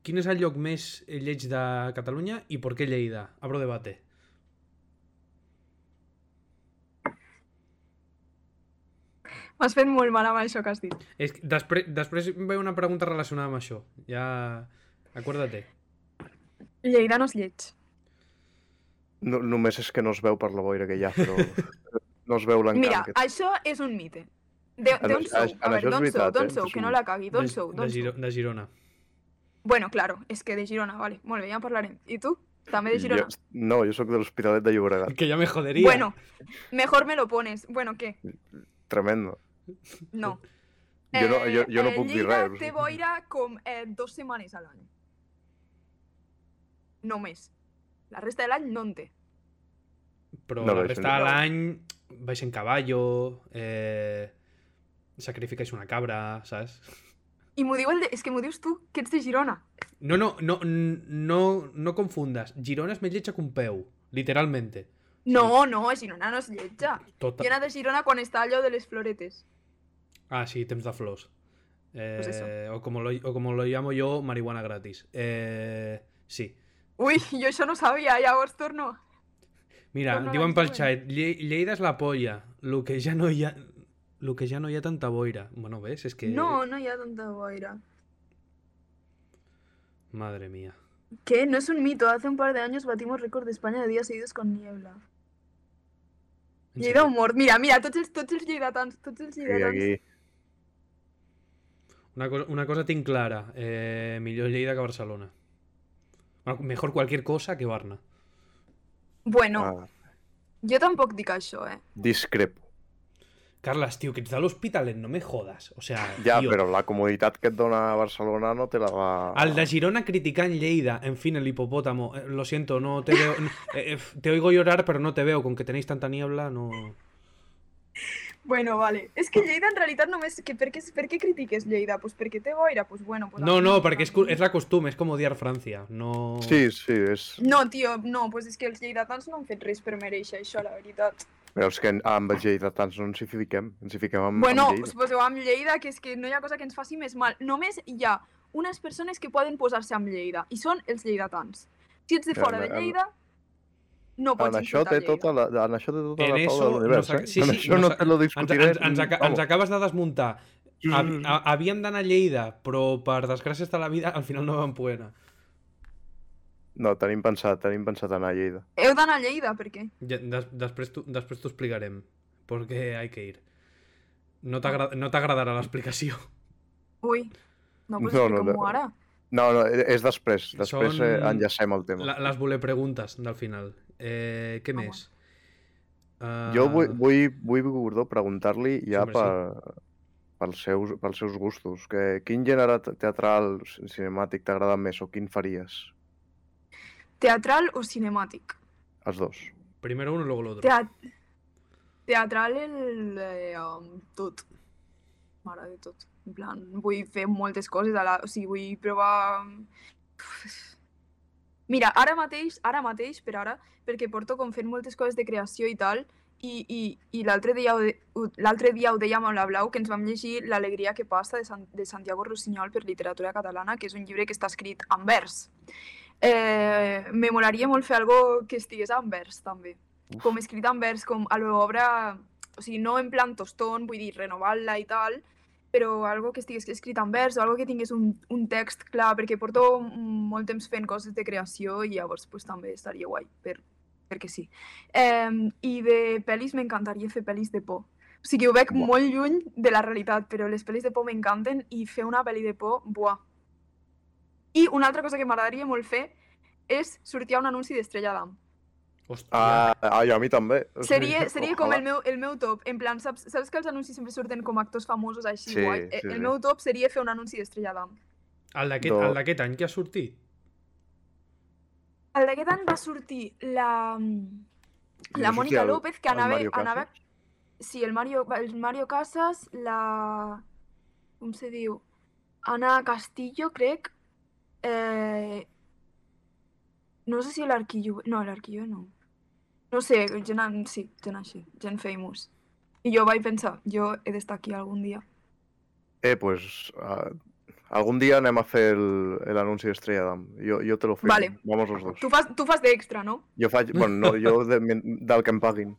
Quin és el lloc més eh, lleig de Catalunya i per què Lleida? Abro debate. m'has fet molt mal amb això que has dit. És que després, després em ve una pregunta relacionada amb això. Ja... Acuérdate. Lleida no és lleig. No, només és que no es veu per la boira que hi ha, [laughs] però no es veu Mira, l'encant. Que... això és un mite. De- En D'on això- sou? en A això veure, és d'on sou? veritat, D'on eh? sou? És Que un- no la cagui. D'on De- sou? de, D'on Giro- sou? de Girona. Bueno, claro, és que de Girona, vale. Molt bé, ja en parlarem. I tu? També de Girona? Jo, no, jo sóc de l'Hospitalet de Llobregat. Que ya me jodería. Bueno, mejor me lo pones. Bueno, què? Tremendo. No. Jo no, jo, jo no eh, puc dir Lleida res. té boira com eh, dos setmanes a l'any. Només. La resta de l'any no en té. Però No, la baixen- resta de l'any vais en caballo, eh, sacrificáis una cabra, saps? I m'ho diu el de... És que m'ho dius tu, que ets de Girona. No, no, no, n- no, no confundas. Girona és més lletja que un peu, literalmente. No, no, Girona no és lletja. Jo he Tota... anat a Girona quan està allò de les floretes. Ah, sí, temps de flors. Eh, Pues eso. o, como lo, o como lo llamo yo, marihuana gratis. Eh, sí. [laughs] Ui, jo això no sabia, llavors torno. Mira, No, no, diuen ens pel diuen. xat, "Lle- Lleida és la polla, lo que ja no hi ha... Lo que ja no hi ha tanta boira. Bueno, ves, és que... No, no hi ha tanta boira. Madre mía. Que no es un mito, hace un par de años batimos récord de España de días seguidos con niebla. En Lleida serio. humor, mira, mira, tots els, tots els lleidatans, tots els I lleidatans. aquí... Una cosa, una cosa tinc clara. Eh, millor Lleida que Barcelona. Bueno, mejor cualquier cosa que Barna. Bueno, Ah, jo tampoc dic això, eh. discrepo. Carles, tío, que ets de l'Hospitalet, no me jodas. O [laughs] sea, Ja, tio, però la comoditat que et dona Barcelona no te la va... Al de Girona criticant Lleida, en fin, el hipopótamo. Eh, lo siento, no te veo. n- eh, eh, f- te oigo llorar, pero no te veo. Con que tenéis tanta niebla, no. Bueno, vale. És que Lleida en realitat només... Que per, què, per què critiques Lleida? Pues perquè té boira? Pues bueno... Pues No, aquí no, porque es, cu- aquí. es la costumbre, es como odiar Francia. No. Sí, sí, és... No, tio, no, pues és que els lleidatans no han fet res per mereixer això, la veritat. Però és que amb els lleidatans no ens hi fiquem. Ens hi fiquem amb, bueno, Mm, amb us Lleida. poseu amb Lleida, que és que no hi ha cosa que ens faci més mal. Només hi ha unes persones que poden posar-se amb Lleida, i són els lleidatans. Si ets de Ja, fora de en- en- Lleida, no pots En això, insultar té Lleida. tota la, en això té tota En la taula eso de l'univers, nos ac- eh? sí, en sí, això nos no ac- te lo Ens, discutiré. ens, ens, aca- ens vamos. acabes de desmuntar. Sí, sí, Havi- sí. a- Havíem d'anar a Lleida, però per desgràcia de la vida al final no vam poder anar. No, tenim pensat, tenim pensat anar a Lleida. Heu d'anar a Lleida, per què? Ja, des, després t'ho després t'ho explicarem, perquè hay que ir. No Ah. t'agra- no t'agradarà l'explicació. Ui, no, pues No, no, no, no, no. ara. No, no, és després. Després Són- Són... eh, enllacem el tema. [laughs] La, les voler preguntes del final. Eh, què Ah, més? Uh, Jo vull, vull, vull Gordó preguntar-li ja Sobre per, pels, seus, pels seus gustos. Que, quin gènere te- teatral, ci- cinemàtic t'agrada més o quin faries? Teatral o cinemàtic? Els dos. Primero uno, luego el otro. Teat... Teatral el... Eh, um, tot. M'agrada tot. En plan, vull fer moltes coses a la... O sigui, vull provar... um, Mira, ara mateix, ara mateix, per ara, perquè porto com fent moltes coses de creació i tal, i, i, i l'altre dia, ho de- ho- l'altre dia ho dèiem amb la Blau, que ens vam llegir L'alegria que passa de, San, de Santiago Rossinyol per literatura catalana, que és un llibre que està escrit en vers. Eh, me molaria molt fer algo que estigués en vers, també com escrit en vers, com a l'obra, o sigui, no en plan tostón, vull dir, renovant-la i tal, però algo que estigués escrit en vers o algo que tingués un, un text clar, perquè porto molt temps fent coses de creació i llavors pues, també estaria guai, per, perquè sí. Um, I de pel·lis m'encantaria fer pel·lis de por. O sigui, ho veig Buah. molt lluny de la realitat, però les pel·lis de por m'encanten i fer una pel·li de por, buah. I una altra cosa que m'agradaria molt fer és sortir a un anunci d'Estrella d'Am. Hòstia. Ah, ai, a mi també. O sigui, Seria, seria com ojalà. el meu, el meu top. En plan, saps, saps que els anuncis sempre surten com actors famosos així? Sí, guai? Eh, sí, sí. el meu top seria fer un anunci d'Estrella d'Am. el d'aquest no. el d'aquest any que ha sortit? [laughs] El d'aquest any va sortir la, No sé la si Mònica el- López, que el anava... Mario anava Casas. sí, el Mario, el Mario Casas, la... Com se diu? Ana Castillo, crec. Eh, no sé si l'Arquillo... No, l'Arquillo no. No sé, gent, an- sí, gent així, gent famous. I jo vaig pensar, jo he d'estar aquí algun dia. Eh, pues... Uh, algun dia anem a fer el- l'anunci d'Estrella d'Am. Jo, jo te lo firmo. Vale. Vamos los dos. Tu fas, tu fas d'extra, no? Jo faig... Bueno, no, jo de, del que em paguin.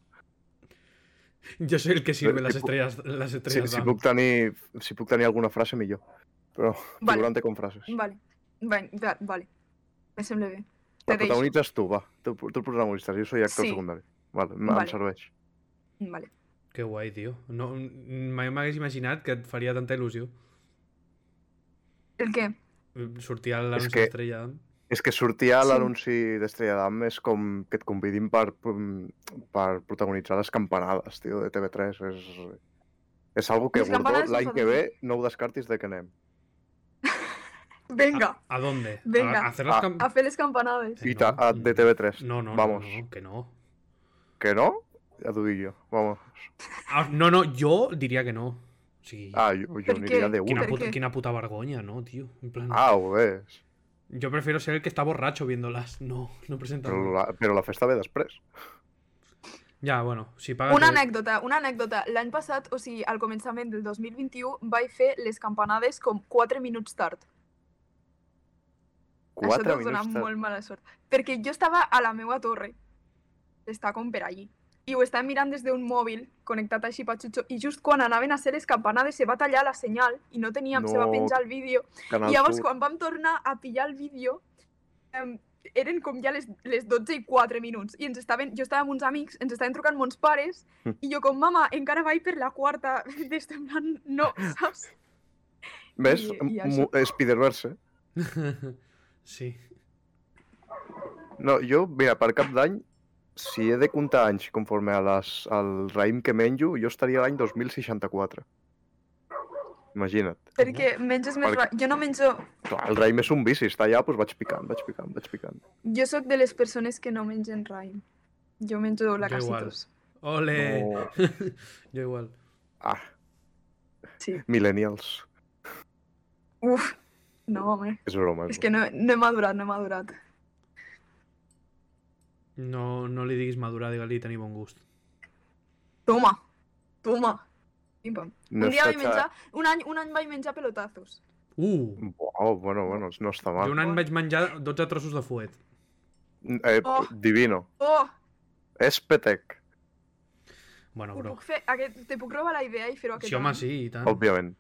Jo soy el que sirve Si les puc- estrelles, les Si, estrelles si, d'Am. puc tenir, si puc tenir alguna frase, millor. Però Vale. figurante con frases. Vale. Vale, va- vale. Me sembla bé. Te La deixo. protagonitzes tu, va. Tu, tu el protagonitzes, jo soy actor sí. Sí. secundari. Vale, em Vale. vale. serveix. Vale. Que guai, tio. No, mai m'hagués imaginat que et faria tanta il·lusió El què? sortir a l'anunci que- d'Estrella d'Am. És que sortir a Sí. l'anunci d'Estrella d'Am és com que et convidin per, mm, per protagonitzar les campanades, tio, de TV3. És, és algo que Les Gordó campanades no l'any són que ve així. no ho descartis de que anem. Venga, A, a dónde? Venga. A, a hacer las Ah. cam- a fer les campanades. Sí, I ta, no. a, de TV3. No, no, no, Vamos. no, que no. Que no? Ja t'ho dic jo. Vamos. Ah, no, no, jo diria que no. O sigui, Ah, jo, jo Per aniria què? de quina, una. per puta, què? quina puta vergonya, no, tio? En plan, Ah, ho ves. Yo prefiero Doncs- ser el que está borracho viéndolas. No, no presentamos. Però la, però la festa ve després. Ja, bueno, si pagues... Una eh, anècdota, una anècdota. L'any passat, o sigui, al començament del 2021, vaig fer les campanades com 4 minuts tard. Això 4 deu donar minuts tard. molt mala sort. Perquè jo estava a la meva torre. Està com per allí. I ho estava mirant des d'un mòbil, connectat així per xutxo, i just quan anaven a ser les campanades se va tallar la senyal i no teníem, se va No. penjar el vídeo. Canal I llavors, Sur. quan vam tornar a pillar el vídeo, em, eren com ja les, les 12 i 4 minuts. I ens estaven, jo estava amb uns amics, ens estaven trucant mons pares, Mm. i jo com, mama, encara vaig per la quarta. [laughs] Des de plan, no, saps? Ves? i- i Mu- això. Spider-Verse. [laughs] sí. No, jo, mira, per cap d'any, si he de comptar anys conforme a les, al raïm que menjo, jo estaria a l'any 2064. Imagina't. Perquè menges més... Perquè- Perquè... Jo no menjo... Clar, el raïm és un vici, està allà, doncs vaig picant, vaig picant, vaig picant. Jo sóc de les persones que no mengen raïm. Jo menjo igual. lacasitos. Ole! [laughs] No. Jo igual. Ah, Sí. millennials. Uf, no, home. És broma. És que no, no he madurat, no he madurat. No, no li diguis madurar, digue-li tenir bon gust. Toma, toma. Pim, pam. no un dia està vaig menjar... Un any, un any vaig menjar pelotazos. Uh! xa- Uau, eh, oh, bueno, bueno, no està mal. Jo un any vaig menjar 12 trossos de fuet. Eh, Oh. Divino. Oh, És petec, Bueno, ho bro. puc fer... Aquest... Te puc robar la idea i fer-ho aquest Sí, home, any? sí, i tant. òbviament.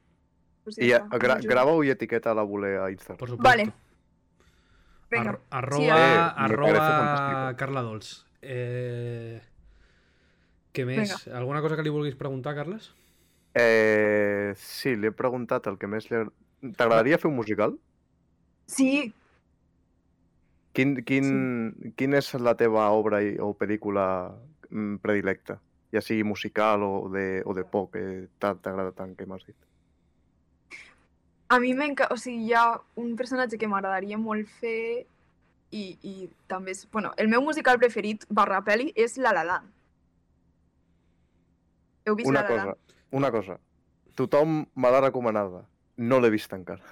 Pues ja I eh, està, gra m'ajudo. grava-ho i etiqueta la voler a Instagram. Por supuesto. Vale. Venga. Ar- arroba eh, me parece arroba fantástico. Carla Dols. Eh... Què més? Alguna cosa que li vulguis preguntar, Carles? Eh, sí, li he preguntat el que més li... agra- T'agradaria fer un musical? Sí, Quin, quin, quin és la teva obra i, o pel·lícula mm, predilecta? Ja sigui musical o de, o de por, que t'ha- t'agrada tant que m'has dit. a mi m'encanta... O sigui, hi ha un personatge que m'agradaria molt fer i, i també és... Bueno, el meu musical preferit barra peli és La La Land. Heu vist Una La La Land? cosa, una cosa. Tothom me l'ha recomanada. No l'he vist encara.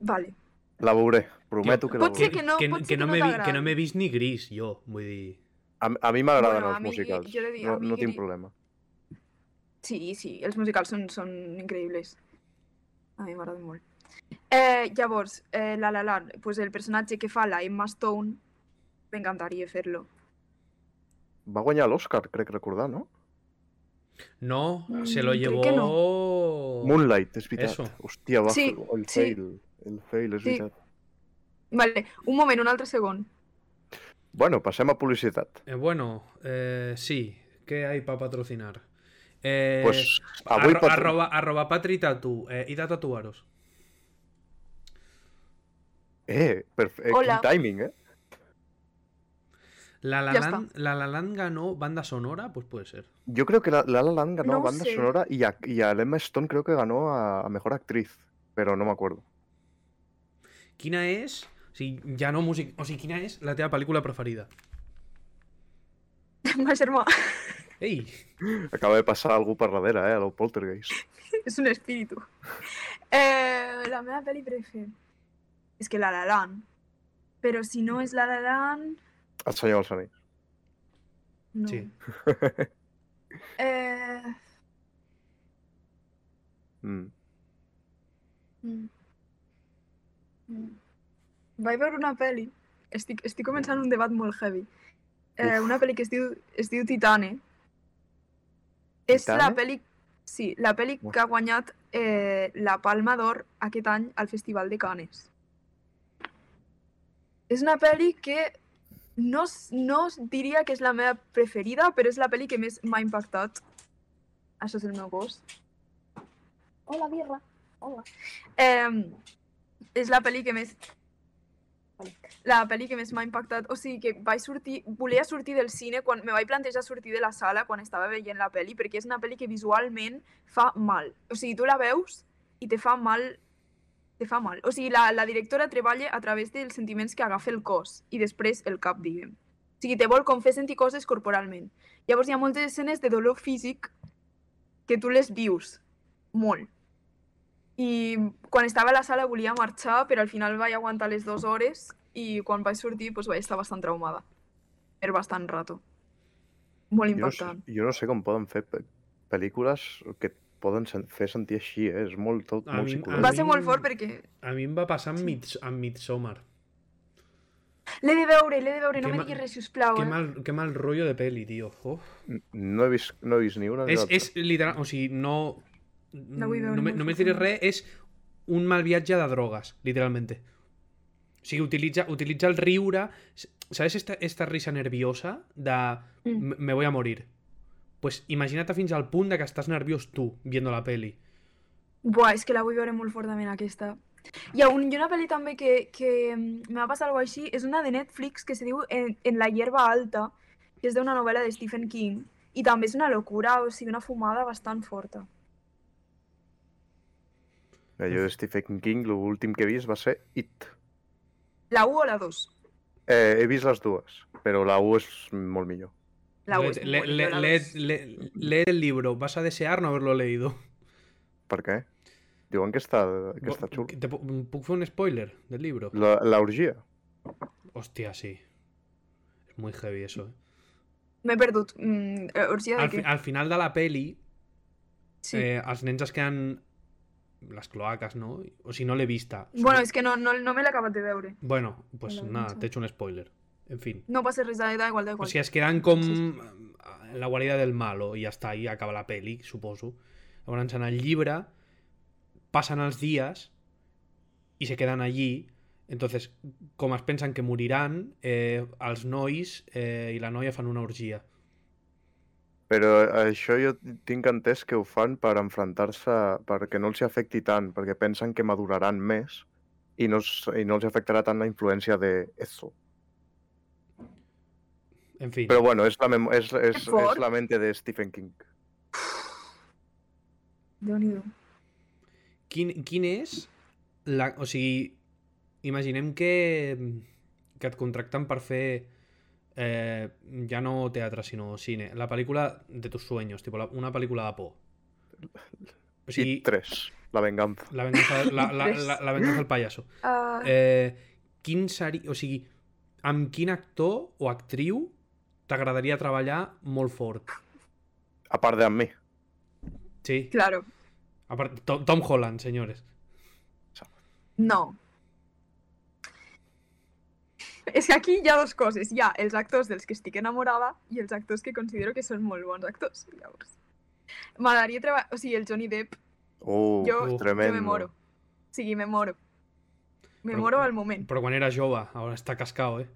Vale. La veuré. Prometo Jo- que la Pot ser veuré. que no, que, pot ser que no no m'he vi- t'agradi. que no m'he vist ni gris, jo. Vull dir... A, a mi m'agraden Bueno, a els mi- musicals. jo he de dir, no, a mi- no tinc problema. Sí, sí, els musicals són, són increïbles. A mi m'agraden molt. Eh, llavors, eh, La La Land, pues el personatge que fa la Emma Stone, m'encantaria fer-lo. Va guanyar l'Oscar, crec recordar, no? No, Mm, se lo crec llevó... que Moonlight, és veritat. Oh, Eso. Hòstia, va Sí, fer el sí. fail. El fail, és Sí. veritat. Vale, un moment, un altre segon. Bueno, passem a publicitat. Eh, bueno, eh, sí. ¿Qué hay para patrocinar? Eh, pues, avui arro- pot... arroba, arroba Patri Tatu. Eh, id a tatuaros. Eh, perfecte. Quin Hola. timing, eh? La La Ya Land, la La Land ganó banda sonora, pues puede ser. Yo creo que la La La Land ganó No a banda sé. sonora y a, y a Emma Stone creo que ganó a, a mejor actriz, pero no me acuerdo. Quina és... O sigui, ja no músic... O sigui, quina és la teva pel·lícula preferida? [laughs] Ma germà, Ei! Acaba de pasar algo per darrere, eh, a lo Poltergeist. és un espíritu. [laughs] Eh, la meva pel·li preferida és que La La Land. Però si no és La La Land... El Senyor dels Anells. No. Sí. [laughs] Eh... Mm. Mm. Mm. Vaig veure una pel·li, estic, estic començant un debat molt heavy, eh, Uf. una pel·li que es diu, es diu Titane. És la Titane? pel·li, sí, la pel·li Ua. que ha guanyat eh, la Palma d'Or aquest any al Festival de Canes. És una pel·li que no, s- no s- diria que és la meva preferida, però és la pel·li que més m'ha impactat. Això és el meu gos. Hola, birra. Hola. Eh, és la pel·li que més... La pel·li que més m'ha impactat, o sigui que vaig sortir, volia sortir del cine, quan me vaig plantejar sortir de la sala quan estava veient la pel·li, perquè és una pel·li que visualment fa mal. O sigui, tu la veus i te fa mal, te fa mal. O sigui, la, la directora treballa a través dels sentiments que agafa el cos i després el cap, diguem. O sigui, te vol com fer sentir coses corporalment. Llavors hi ha moltes escenes de dolor físic que tu les vius molt. I quan estava a la sala volia marxar, però al final vaig aguantar les dues hores i quan vaig sortir doncs, vaig estar bastant traumada. Per bastant rato. Molt Jo no, sé, impactant. jo no sé com poden fer pe- pel·lícules que et poden sen fer sentir així, eh? És molt, tot, A molt mi- a psicològic. Va ser molt fort perquè A mi em va passar amb, Mids amb Midsommar. l'he de veure, l'he de veure, no Que me ma- diguis res, sisplau. Qué Eh? mal, qué mal rollo de peli, tío. Oh. No he vist, no he vist ni una ni És, l'altra. és literal... O sigui, no... No, Ah, vull veure me- molt només diré res, profund. és un mal viatge de drogues, literalment. O sigui, utilitza, utilitza el riure... s- Saps esta, esta risa nerviosa de Mm. "M- me voy a morir? Pues imagina't fins al punt de que estàs nerviós tu viendo la peli. Buah, és que la vull veure molt fortament, aquesta. Hi ha, un, hi ha una pel·li també que, que mm, me va passar alguna així, és una de Netflix que se diu En, en la hierba alta, que és d'una novel·la de Stephen King, i també és una locura, o sigui, una fumada bastant forta. Mira, Jo de Stephen King l'últim que he vist va ser It. La 1 o la 2? Eh, he vist les dues, però la 1 és molt millor. La 1 Leed- és molt le- le- millor, la leed- 2. le- Leed el libro. Vas a desear no haberlo leído. Per què? Diuen que està, que està xul. Te, pu- puc fer un spoiler del libro? La, la orgia. Hostia, sí. Es muy heavy eso, eh. M'he perdut. Mm, eh, orgia de al, fi- què? al final de la peli, Sí. eh, els nens es queden les cloacas, no? O si no l'he vista. Bueno, és que no, no, no me l'he acabat de veure. Bueno, pues la he nada, vist. t'he hecho un spoiler. En fin. No passa res, da da igual, da O igual. sea, es quedan com en eh, la guarida del malo i ja està, i acaba la peli, suposo. Llavors, en el llibre, passen els dies i se queden allí. Entonces, com es pensen que moriran, eh, els nois eh, i la noia fan una orgia. Però eh, això jo tinc entès que ho fan per enfrontar-se, perquè no els hi afecti tant, perquè pensen que maduraran més i no, els, i no els afectarà tant la influència de eso. En fin. Però bueno, és la, mem- és, és, Que fort. és la mente de Stephen King. Déu-n'hi-do. quin, quin és la... O sigui, imaginem que, que et contracten per fer eh, ja no teatre, sinó cine. La pel·lícula de tus sueños, tipo la, una pel·lícula de por. O I sigui, 3, la venganza. la venganza, la, la, Tres. la, la venganza del payaso. Uh, Eh, quin seri... O sigui, amb quin actor o actriu t'agradaria treballar molt fort? A part de mi. Sí. Claro. A part, Tom, Tom Holland, senyores. No. És que aquí hi ha dues coses. Hi ha els actors dels que estic enamorada i els actors que considero que són molt bons actors. Llavors, m'agradaria treballar... O sigui, el Johnny Depp, Uh, Jo- jo tremendo. jo me moro. O sigui, me moro. Me Però- moro al moment. Però quan era jove, ara està cascao, eh?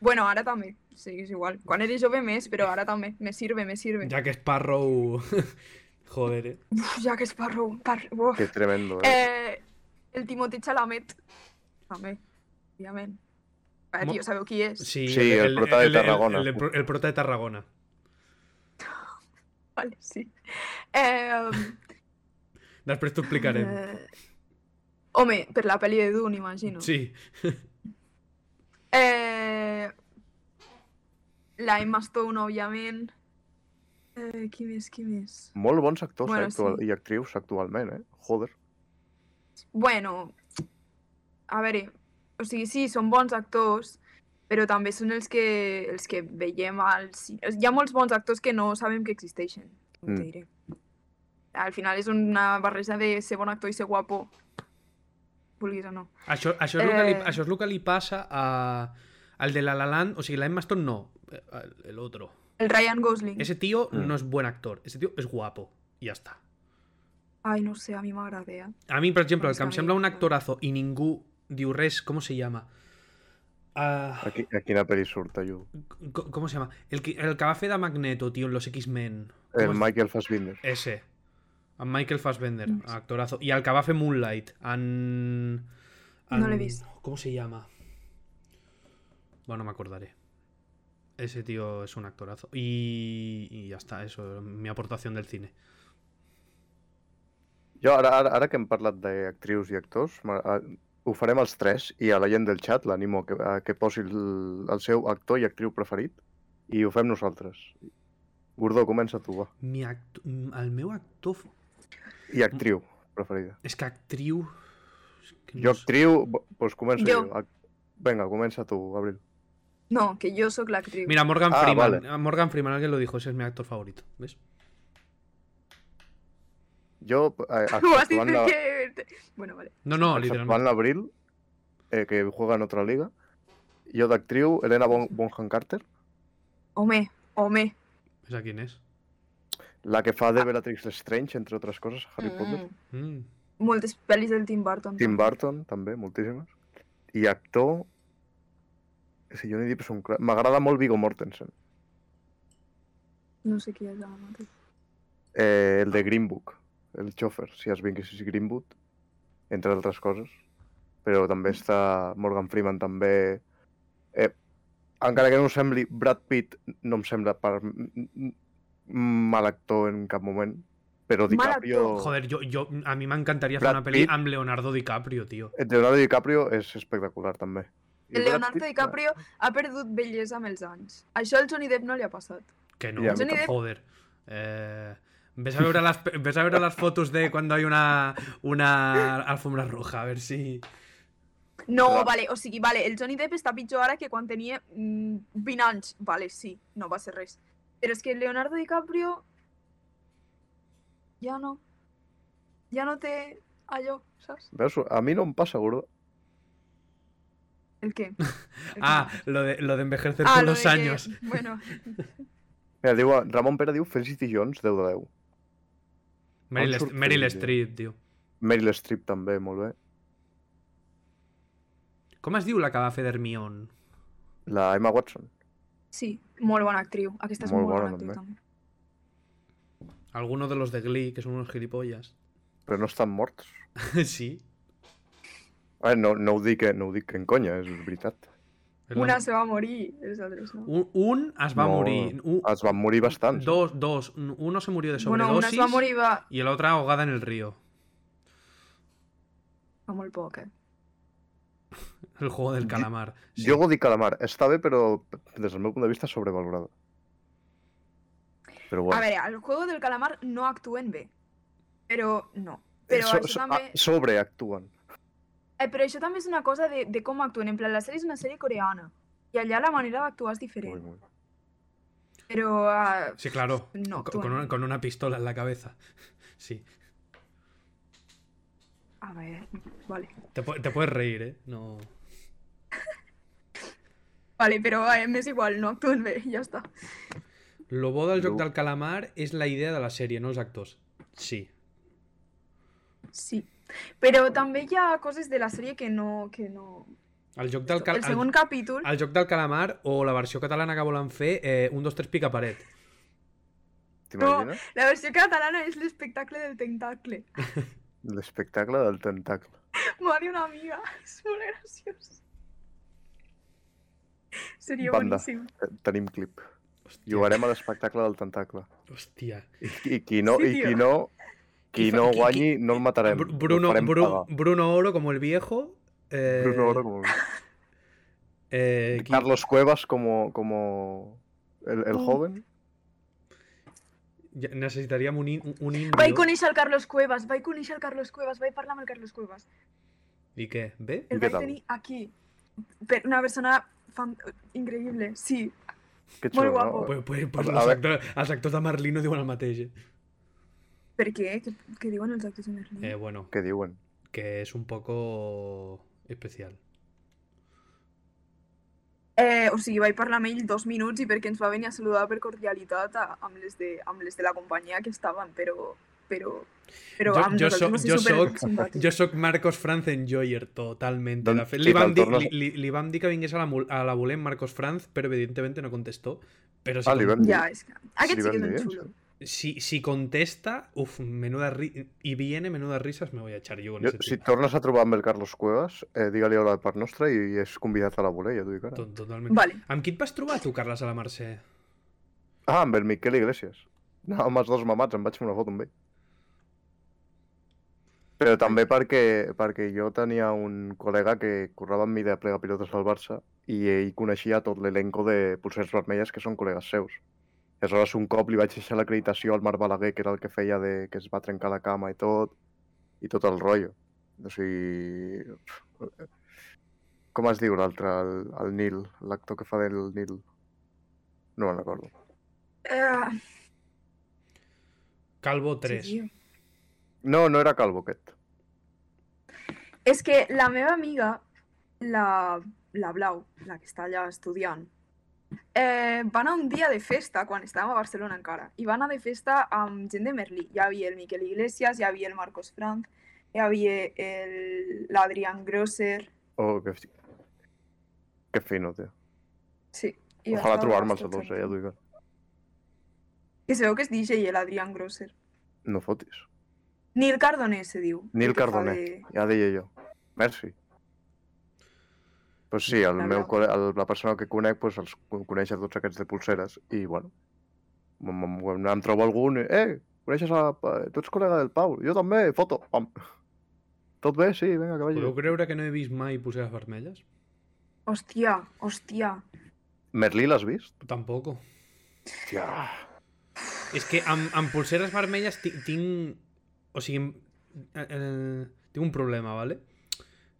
Bueno, ara també. O sigui, és igual. Quan eres jove més, però ara també. Me sirve, me sirve. [laughs] Jack Sparrow. [laughs] Joder, eh. Uf, ja que és parro... Par... Uf. Que [laughs] tremendo, eh? Eh, el Timothée Chalamet, també, òbviament. Va, Mo- tio, sabeu qui és? Sí, Sí, el prota de Tarragona. El, el, pro- el prota de Tarragona. [laughs] Vale, sí. Eh, Després t'ho explicarem. eh, home, per la pel·li de Dune, imagino. Sí, Eh, la Emma Stone, òbviament. Eh, qui més, qui més? Molt bons actors Bueno, bueno, actual... sí. i actrius actualment, eh? Joder. Bueno, a veure, o sigui, sí, són bons actors, però també són els que, els que veiem al cine. Hi ha molts bons actors que no sabem que existeixen, com Mm. te diré. Al final és una barreja de ser bon actor i ser guapo, vulguis o no. això, això, és el que li, Eh. això és el que li passa a, al de La La Land, o sigui, la Emma Stone no, eh, el- el otro. El Ryan Gosling. Ese tío Mm. no es buen actor, ese tío es guapo, i ja està. Ai, no ho sé, a mi m'agrada, eh? A mi, per exemple, el Doncs que em a mi- sembla un actorazo i ningú diu res, com se llama? Uh, Aquí, a quina pel·li surt, allò? com se llama? El que, el que va fer de Magneto, tio, en los X-Men. El Com es- Eh, Michael Fassbinder. Ese. En Michael Fassbender, No sé. actorazo. Y al que va fer Moonlight, en... en- No l'he vist. ¿Cómo se llama? Bueno, me acordaré. Ese tío es un actorazo. Y, y ya está, eso, mi aportación del cine. Jo, ara, ara, ara que hem parlat d'actrius i actors, m'ha- a- ho farem els tres i a la gent del xat l'animo a que, a que posi el, el seu actor i actriu preferit i ho fem nosaltres. Gordó, comença tu, va. Mi act... El meu actor... f- I actriu preferida. És que actriu... és que no Jo sé. actriu, bo- doncs començo jo. Jo. jo. Ac- Vinga, comença tu, Abril. No, que yo soy la actriz. [laughs] Mira, Morgan Ah, Freeman. Morgan Freeman, alguien lo dijo, ese es mi actor favorito. ¿Ves? Yo, eh, Vas a exceptuando, decir que... Bueno, vale. No, no, exceptuant literalmente. l'Abril, eh, que juega en otra liga, jo d'actriu, Helena Bon- Bonham Carter, Home, home. ¿Esa quién es? la que fa de Bellatrix Lestrange, entre otras cosas, Harry Potter, Mm, Mm. moltes pel·lis del Tim Burton. Tim Burton, també, moltíssimes, i actor... Si jo ni dic, és un cra- M'agrada molt Viggo Mortensen, No sé qui és ara mateix. eh, el de Green Book, el xofer, si es vinguessis Greenwood, entre altres coses. Però també està Morgan Freeman, també... Eh, encara que no em sembli, Brad Pitt no em sembla per m- m- mal actor en cap moment, però Mal DiCaprio... Joder, yo, yo, a mí me encantaría hacer Oh. Brad una peli Pitt. amb Leonardo DiCaprio, tío. Leonardo DiCaprio és espectacular, també. I El Brad Leonardo Pitt, DiCaprio ha perdut bellesa amb els anys. Això al Johnny Depp no li ha passat. Que no, Ya, a mí tampoco. joder. Eh, ves, a ver a las, pe- ves a ver a las fotos de cuando hay una, una alfombra roja, a ver si... No, Clar. vale, o sigui, vale, el Johnny Depp està pitjor ara que quan tenia mm, 20 anys. Vale, sí, no va ser res. Però és que Leonardo DiCaprio ja no. Ja no té allò, saps? Veus? A mi no em passa, gordo. El [laughs] què? El Ah, què? lo de, lo de envejecer Ah, con lo los de que- años. Bueno, Mira, diu, Ramon Pere diu Felicity Jones, 10 de 10. Meryl, Han Est- Meryl sorprendido. Streep, tío. Meryl Streep també, molt bé. Com es diu la que va fer d'Hermione? La Emma Watson. sí, molt bona actriu. Aquesta és molt, bona, actriu també. Alguno de los de Glee, que son unos gilipollas. [laughs] Però no estan morts. sí. Eh, no, no, ho dic, eh, no ho dic en conya, és veritat. Es la- Una se va morir, els altres no. Un, un es va No, morir. Un- Es van morir bastants. dos, dos. Uno se murió de Bueno, una sobredosis es va morir va, y el otro ahogada en el río. fa molt poc, eh? El juego del Yo- calamar. Sí. Jo ho dic calamar. Està bé, però des del meu punt de vista sobrevalorada. Però A bueno. veure, al Juego del Calamar no actuen bé. Però no. Però, So- això so- també, a- sobreactuen. eh, però això també és una cosa de, de com actuen. En plan, la sèrie és una sèrie coreana. I allà la manera d'actuar és Ui, diferent. ui. Però... Uh, Sí, claro. No, con, tú con no. una, con una pistola en la cabeza. [laughs] Sí. a veure, vale. Te, pu- te puedes reír, ¿eh? No. Vale, però eh, m'és igual, no actuen [laughs] bé, ja està. Lo bo del joc No. del calamar és la idea de la sèrie, no els actors. Sí. Sí. Però també hi ha coses de la sèrie que no... Que no... El joc del, cal El segon el, capítol... el joc del calamar o la versió catalana que volen fer, eh, un, dos, tres, pica paret. T'imagines? La versió catalana és l'espectacle del tentacle. L'espectacle del tentacle. M'ho va dir una amiga. [laughs] És molt graciós. Seria Banda. boníssim. Te- Eh, Tenim clip. Hòstia. Jugarem a l'espectacle del tentacle. Hòstia. I, i qui no, Sí, i qui tio. no, Qui qui fa- no qui- guanyi, no el matarem. Bru- El Bruno, Em- farem Bru- pagar. Bruno Oro como el viejo. Eh, Bruno Oro Em como... eh, qui- Carlos Cuevas como, como el, Oh. el joven. ja- necessitaríem un, in, un indio. Vaig conèixer el Carlos Cuevas, vaig conèixer el Carlos Cuevas, vaig parlar amb el Carlos Cuevas. I què? Bé? El què vaig tal? tenir aquí. Per una persona fan... increïble, sí. Que Molt xulo, guapo. no? Pues, pues, pues A- a els, ver. actors, els actors de Merlí no diuen el mateix. eh? Per què? Què, què diuen els actors de Merlí? Eh, bueno, Què diuen? que es un poco especial. Eh, o sigui, vaig parlar amb ell dos minuts i perquè ens va venir a saludar per cordialitat a, amb, les de, amb les de la companyia que estaven, però... però... Però Jo- amb jo nosaltres soc- va ser jo super soc- simpàtic. Jo sóc Marcos Franz en Joyer, totalmente. Don- De fet, sí, li, vam te'l dir, tornes- li, li, li vam dir que vingués a la, mul- a la volent Marcos Franz, però evidentemente no contestó. Però si, Ah, li con- vam dir. Ja, és que... Aquest sí van que és un dir, eh? xulo. si, si contesta, uf, menuda ri- y viene, menudas risas me voy a echar yo con Jo, ese si tío. et tornes a trobar amb el Carlos Cuevas, eh, digue-li hola per nostra i és convidat a la voler, ja t'ho dic ara. To- Totalmente. Vale. Amb qui et vas trobar tu, Carles, a la Mercè? Ah, amb el Miquel Iglesias. No, amb els dos mamats, em vaig fer una foto amb ell. Però també perquè, perquè jo tenia un col·lega que currava amb mi de plega pilotes al Barça i ell coneixia tot l'elenco de Pulsers Vermelles que són col·legues seus. I aleshores un cop li vaig deixar l'acreditació al Marc Balaguer, que era el que feia de, que es va trencar la cama i tot, i tot el rotllo. O sigui... pf, Com es diu l'altre, el, el Nil, l'actor que fa del Nil? No me'n recordo. Eh, Calvo 3. tio. No, no era Calvo aquest. És que la meva amiga, la, la Blau, la que està allà estudiant, eh, va anar un dia de festa, quan estàvem a Barcelona encara, i va anar de festa amb gent de Merlí. Hi havia el Miquel Iglesias, hi havia el Marcos Frank, hi havia el- l'Adrián Grosser... Oh, que, fi- que fino, tio. Sí. i Ojalà estàvem trobar-me'ls a tots tots, eh, aquí. ja t'ho dic. Que se veu que és DJ, l'Adrián Grosser. No fotis. Nil Cardoner, se diu. Nil el que fa Cardoner. de- Ja deia jo. Merci. Pues sí, el La meu, Blau. col- el, la persona que conec pues, els co- coneix a tots aquests de pulseres i, bueno, m- m- m- em trobo algun i, eh, coneixes a... pa- Tu ets col·lega del Pau? Jo també, foto. Pam. Tot bé? Sí, vinga, que vagi. Podeu creure que no he vist mai pulseres vermelles? Hòstia, hòstia. Merlí l'has vist? Tampoco. Hòstia. És que amb, amb pulseres vermelles ti- tinc... O sigui, em- eh, eh, tinc un problema, vale?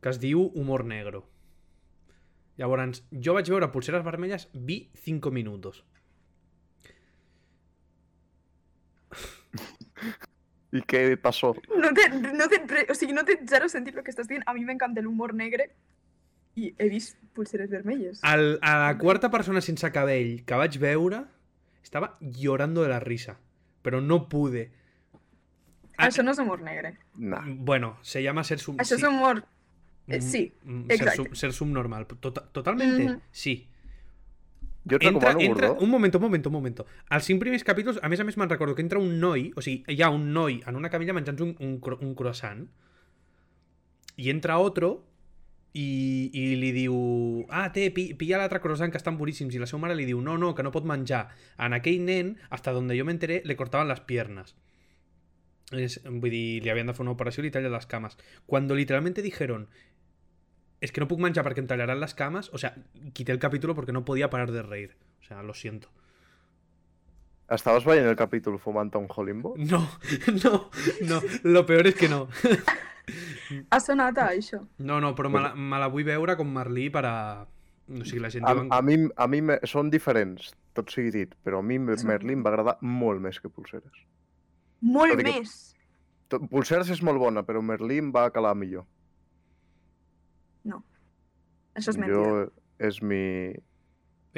Que es diu humor negro. Llavors, jo vaig veure pulseres vermelles, vi 5 minutos. I què passó? No té, no té, re- o sigui, no té zero sentit el que estàs dient. A mi m'encanta l'humor negre i he vist pulseres vermelles. Al, a la quarta persona sense cabell que vaig veure, estava llorando de la risa. Però no pude. a- Això Ah, no és humor negre. Nah. Bueno, se llama ser sub... Això és humor... eh, sí, Mm, Ser, exacte. sub, ser subnormal. Tota- totalmente, Mhm. sí. Jo et Entra, recomano, entra... Gordó. Un moment, un moment, un moment. Els cinc primers capítols, a més a més me'n recordo que entra un noi, o sigui, hi ha un noi en una camilla menjant un, un, cro- un croissant i entra otro i, i li diu ah, té, pi, pilla l'altre croissant que estan boníssims i la seva mare li diu no, no, que no pot menjar. En aquell nen, hasta donde jo m'enteré, le cortaven les piernas. Es, vull dir, li havien de fer una operació i li tallen les cames. Quan literalmente dijeron es que no puc menjar perquè em tallaran les cames, o sea, quité el capítulo porque no podía parar de reír. O sea, lo siento. Estaves veient el capítol fumant un Holimbo? No, [laughs] no, no. Lo peor es que no. Ha sonat a això. No, no, però me la, me la vull veure com Merlí per a... O sigui, la gent A, diuen... a mi, a mi me, són diferents, tot sigui dit, però a mi me- Sí. Merlí em va agradar molt més que Pulseres. Molt Tot i que- més. Tot- Pulseres és molt bona, però Merlí em va calar millor. Això és mentida. Jo és mi...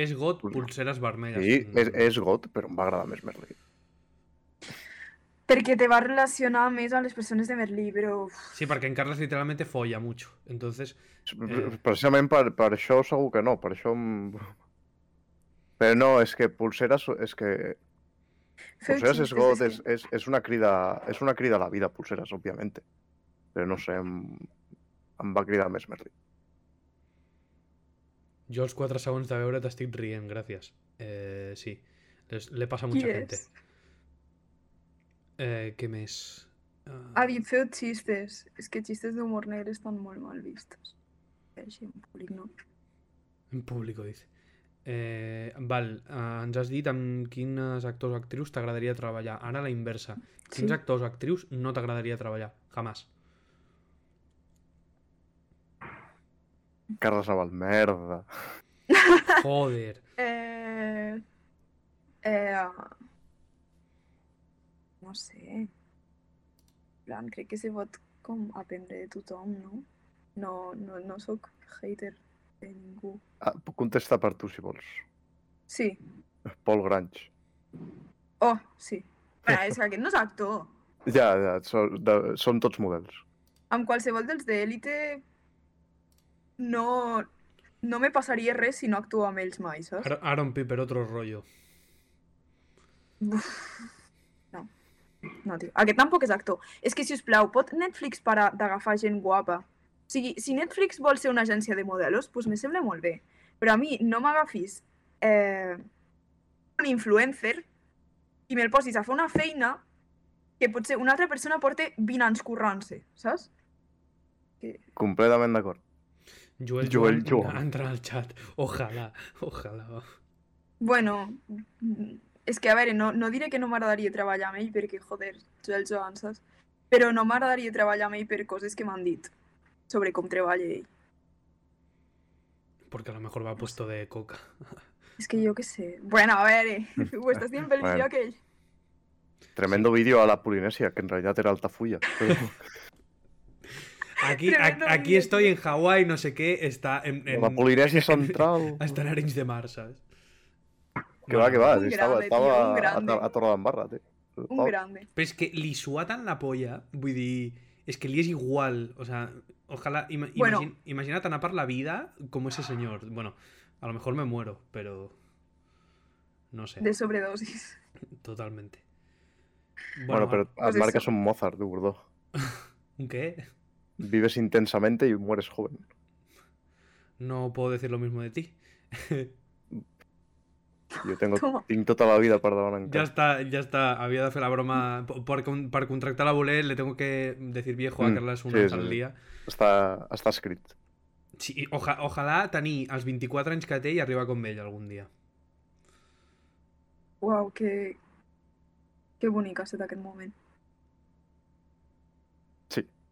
És got, pulseres vermelles. ah. Sí, Mm. és, és got, però em va agradar més Merlí. Perquè te va relacionar més amb les persones de Merlí, però... uf, Sí, perquè en Carles literalmente folla mucho. Entonces, Eh. Precisament per, per això segur que no, per això... Em... [laughs] Però no, és que Pulseres és que... feu Pulseres és xistes, got, que- és, és, és, una crida, és una crida a la vida, Pulseres, òbviament. Però no sé, em, em va cridar més Merlí. jo els 4 segons de veure t'estic rient, gràcies. Eh, sí, Les- le pasa a Qui mucha gente. és? Eh, què més? Ah, Ha dit, feu xistes. És que xistes d'humor negre estan molt mal vistos. Així, en públic, no? En público, dice. Eh, val, eh, ens has dit amb quins actors o actrius t'agradaria treballar. Ara la inversa. Quins Sí. actors o actrius no t'agradaria treballar? [laughs] Jamás. Carles Naval, merda. Joder. Eh... Eh... No sé. En plan, crec que se pot com aprendre de tothom, no? No, no, no sóc hater de ningú. Ah, puc contestar per tu, si vols. Sí. Paul Grange. Oh, sí. Però és que aquest no és actor. Ja, ja, so, de, són tots models. Amb qualsevol dels d'Elite no, no me passaria res si no actuo amb ells mai, saps? Ar- Aaron Piper, otro rollo. Uf. No. No, tio. Aquest tampoc és actor. És que, si us plau, pot Netflix parar d'agafar gent guapa? O sigui, si Netflix vol ser una agència de modelos, doncs me sembla molt bé. Però a mi no m'agafis eh, un influencer i me'l posis a fer una feina que potser una altra persona porta 20 anys currant-se, saps? Completament d'acord. Joel, Joel Joan Joan. entra al chat. Ojalá, ojalá. Bueno, mm, és que, a veure, no, no diré que no m'agradaria treballar amb ell perquè, joder, Joel Joan, saps? Però no m'agradaria treballar amb ell per coses que m'han dit sobre com treballa ell. Porque a lo mejor va puesto de coca. Es que yo qué sé. Bueno, a [laughs] ver, eh, [laughs] estás siempre el Bueno. vídeo aquel. Tremendo vídeo a la Polinesia, que en realidad era [laughs] Altafulla. Pero... Aquí, a- Tremendo aquí vídeo. estoy en Hawái, no sé qué, está en, en- La Polinesia [laughs] Central. hasta en Arenys de Mar, ¿sabes? Que va, que va. sí, Un Estaba, grande, tío, un estaba a, grande. a, a Torredembarra, tio. Oh. Un Oh. Estava- grande. Però és que li suaten la polla, vull dir, és que li és igual, o sea, ojalá, ima- Bueno. imagin- imagina tan a par la vida como ese señor. Bueno, a lo mejor me muero, pero no sé, De sobredosis. totalmente. Bueno, pero pues las marcas eso. son Mozart, du gordo. ¿un ¿Qué? Vives intensamente y mueres joven. No puedo decir lo mismo de ti. Yo [laughs] tengo, Toma. tinc tota la vida per Ya davant encara. está, ya está, había de hacer la broma. Por, con- por contractar a Bolet le tengo que decir viejo a Mm, Carles una sí, vez sí, al sí. día. Està, està escrit. Sí, i oja- ojalá tenir els 24 anys que té i arribar com ell algun dia. Uau, que... Que bonic ha estat aquest moment.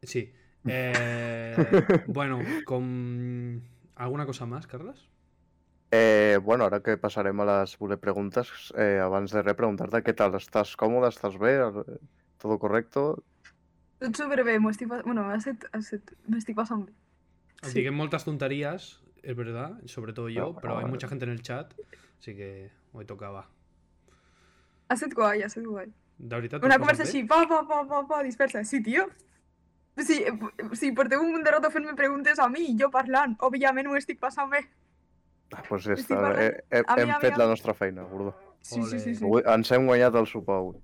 Sí. Eh, bueno, com... Alguna cosa més, Carles? Eh, bueno, ara que passarem a les voler preguntes, eh, abans de res, preguntar-te què tal, estàs còmode, estàs bé, Eh, todo correcto? Tot superbé, m'ho estic... pas- Bueno, ha estat... ha estat- M'estic passant bé. Sí. Sí. Diguem moltes tonteries, és verdad, sobre todo yo, Bueno, però hay bueno. mucha gente en el chat, así que hoy tocava. Ha estat guai, ha estat guai. De veritat, t'ho Una has conversa passat bé? així, pa, pa, pa, pa, pa, dispersa. Sí, tio. Sí, eh, sí, porteu un munt de rato fent-me preguntes a mi i jo parlant. Òbviament ho estic passant bé. Ah, pues ja Sí, està, parla- eh, hem, Avi, hem avi, fet la avi. nostra feina, gordo. Sí, sí, sí, sí. Ole. Avui ens hem guanyat el sopar avui.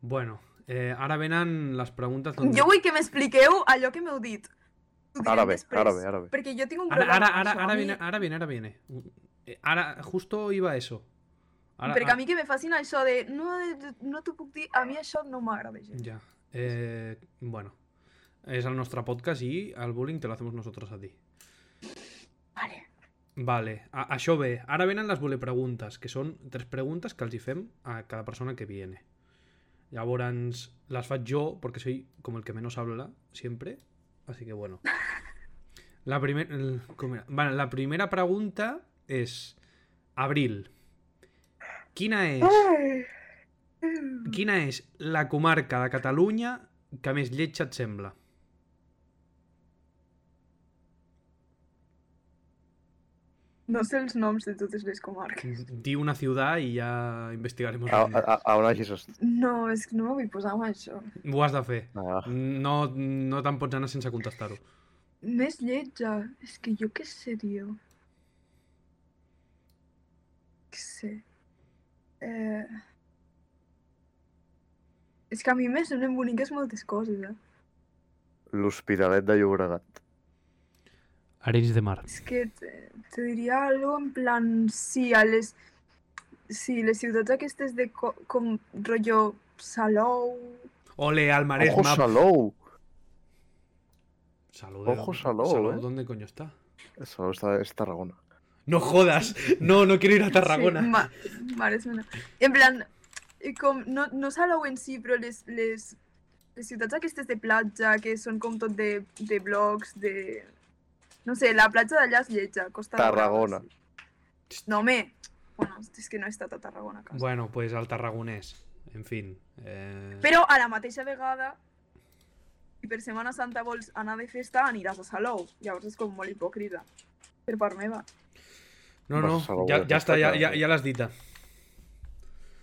Bueno, eh, ara venen les preguntes... d'on- Jo vull que m'expliqueu allò que m'heu dit. Ho direm Ara bé, després, ara bé, ara bé. Perquè jo tinc un Ara, problema ara, amb ara, això, ara, a mi- viene, ara viene, ara viene. Eh, Ara, justo iba a eso. ah, Ara, perquè ara- a mi que me facin això de no, no t'ho puc dir, a mi això no m'agrada gens. Ya. Eh, bueno, es al nuestro podcast y al bullying te lo hacemos nosotros a ti. Vale. Vale, a, això ve. Ara venen les voler preguntes, que són tres preguntes que els hi fem a cada persona que viene. Llavors, les faig jo, perquè soy com el que menos habla, sempre. Así que bueno. La, primer, el- com era? Vale, la primera pregunta és... Abril. Quina és... Quina és la comarca de Catalunya que més lletja et sembla? No sé els noms de totes les comarques. Di una ciutat i ja investigarem. A, a, a on hagis estat? No, és que no m'ho vull posar amb això. Ho has de fer. Ah, No, no te'n pots anar sense contestar-ho. Més lletja. És que jo què sé, tio. Què sé. Eh... És que a mi me semblen boniques moltes coses, eh? L'Hospitalet de Llobregat. Arenys de Mar. És que te, te diria algo en plan... Sí, a les... Sí, les ciutats aquestes de co com rotllo Salou... Ole, al Ojo Maresma. Salou! Salou, de- Ojo, Salou, eh. ¿dónde coño está? Salou està, és Tarragona. No jodas. No, no quiero ir a Tarragona. Sí, ma, Maresme. no. En plan, eh, com, no, no Salou en si, però les, les, les ciutats aquestes de platja, que són com tot de, de blocs, de... No sé, la platja d'allà és lletja, Costa Tarragona. Daurada, sí. No, home, bueno, és que no he estat a Tarragona, quasi. Bueno, pues al tarragonés. En fin. eh, Però a la mateixa vegada, si per Setmana Santa vols anar de festa, aniràs a Salou. Llavors és com molt hipòcrita. Per part meva. No, no, Vas a Salou ya, de ya está, festa, ya, claro. ya, ya las dita.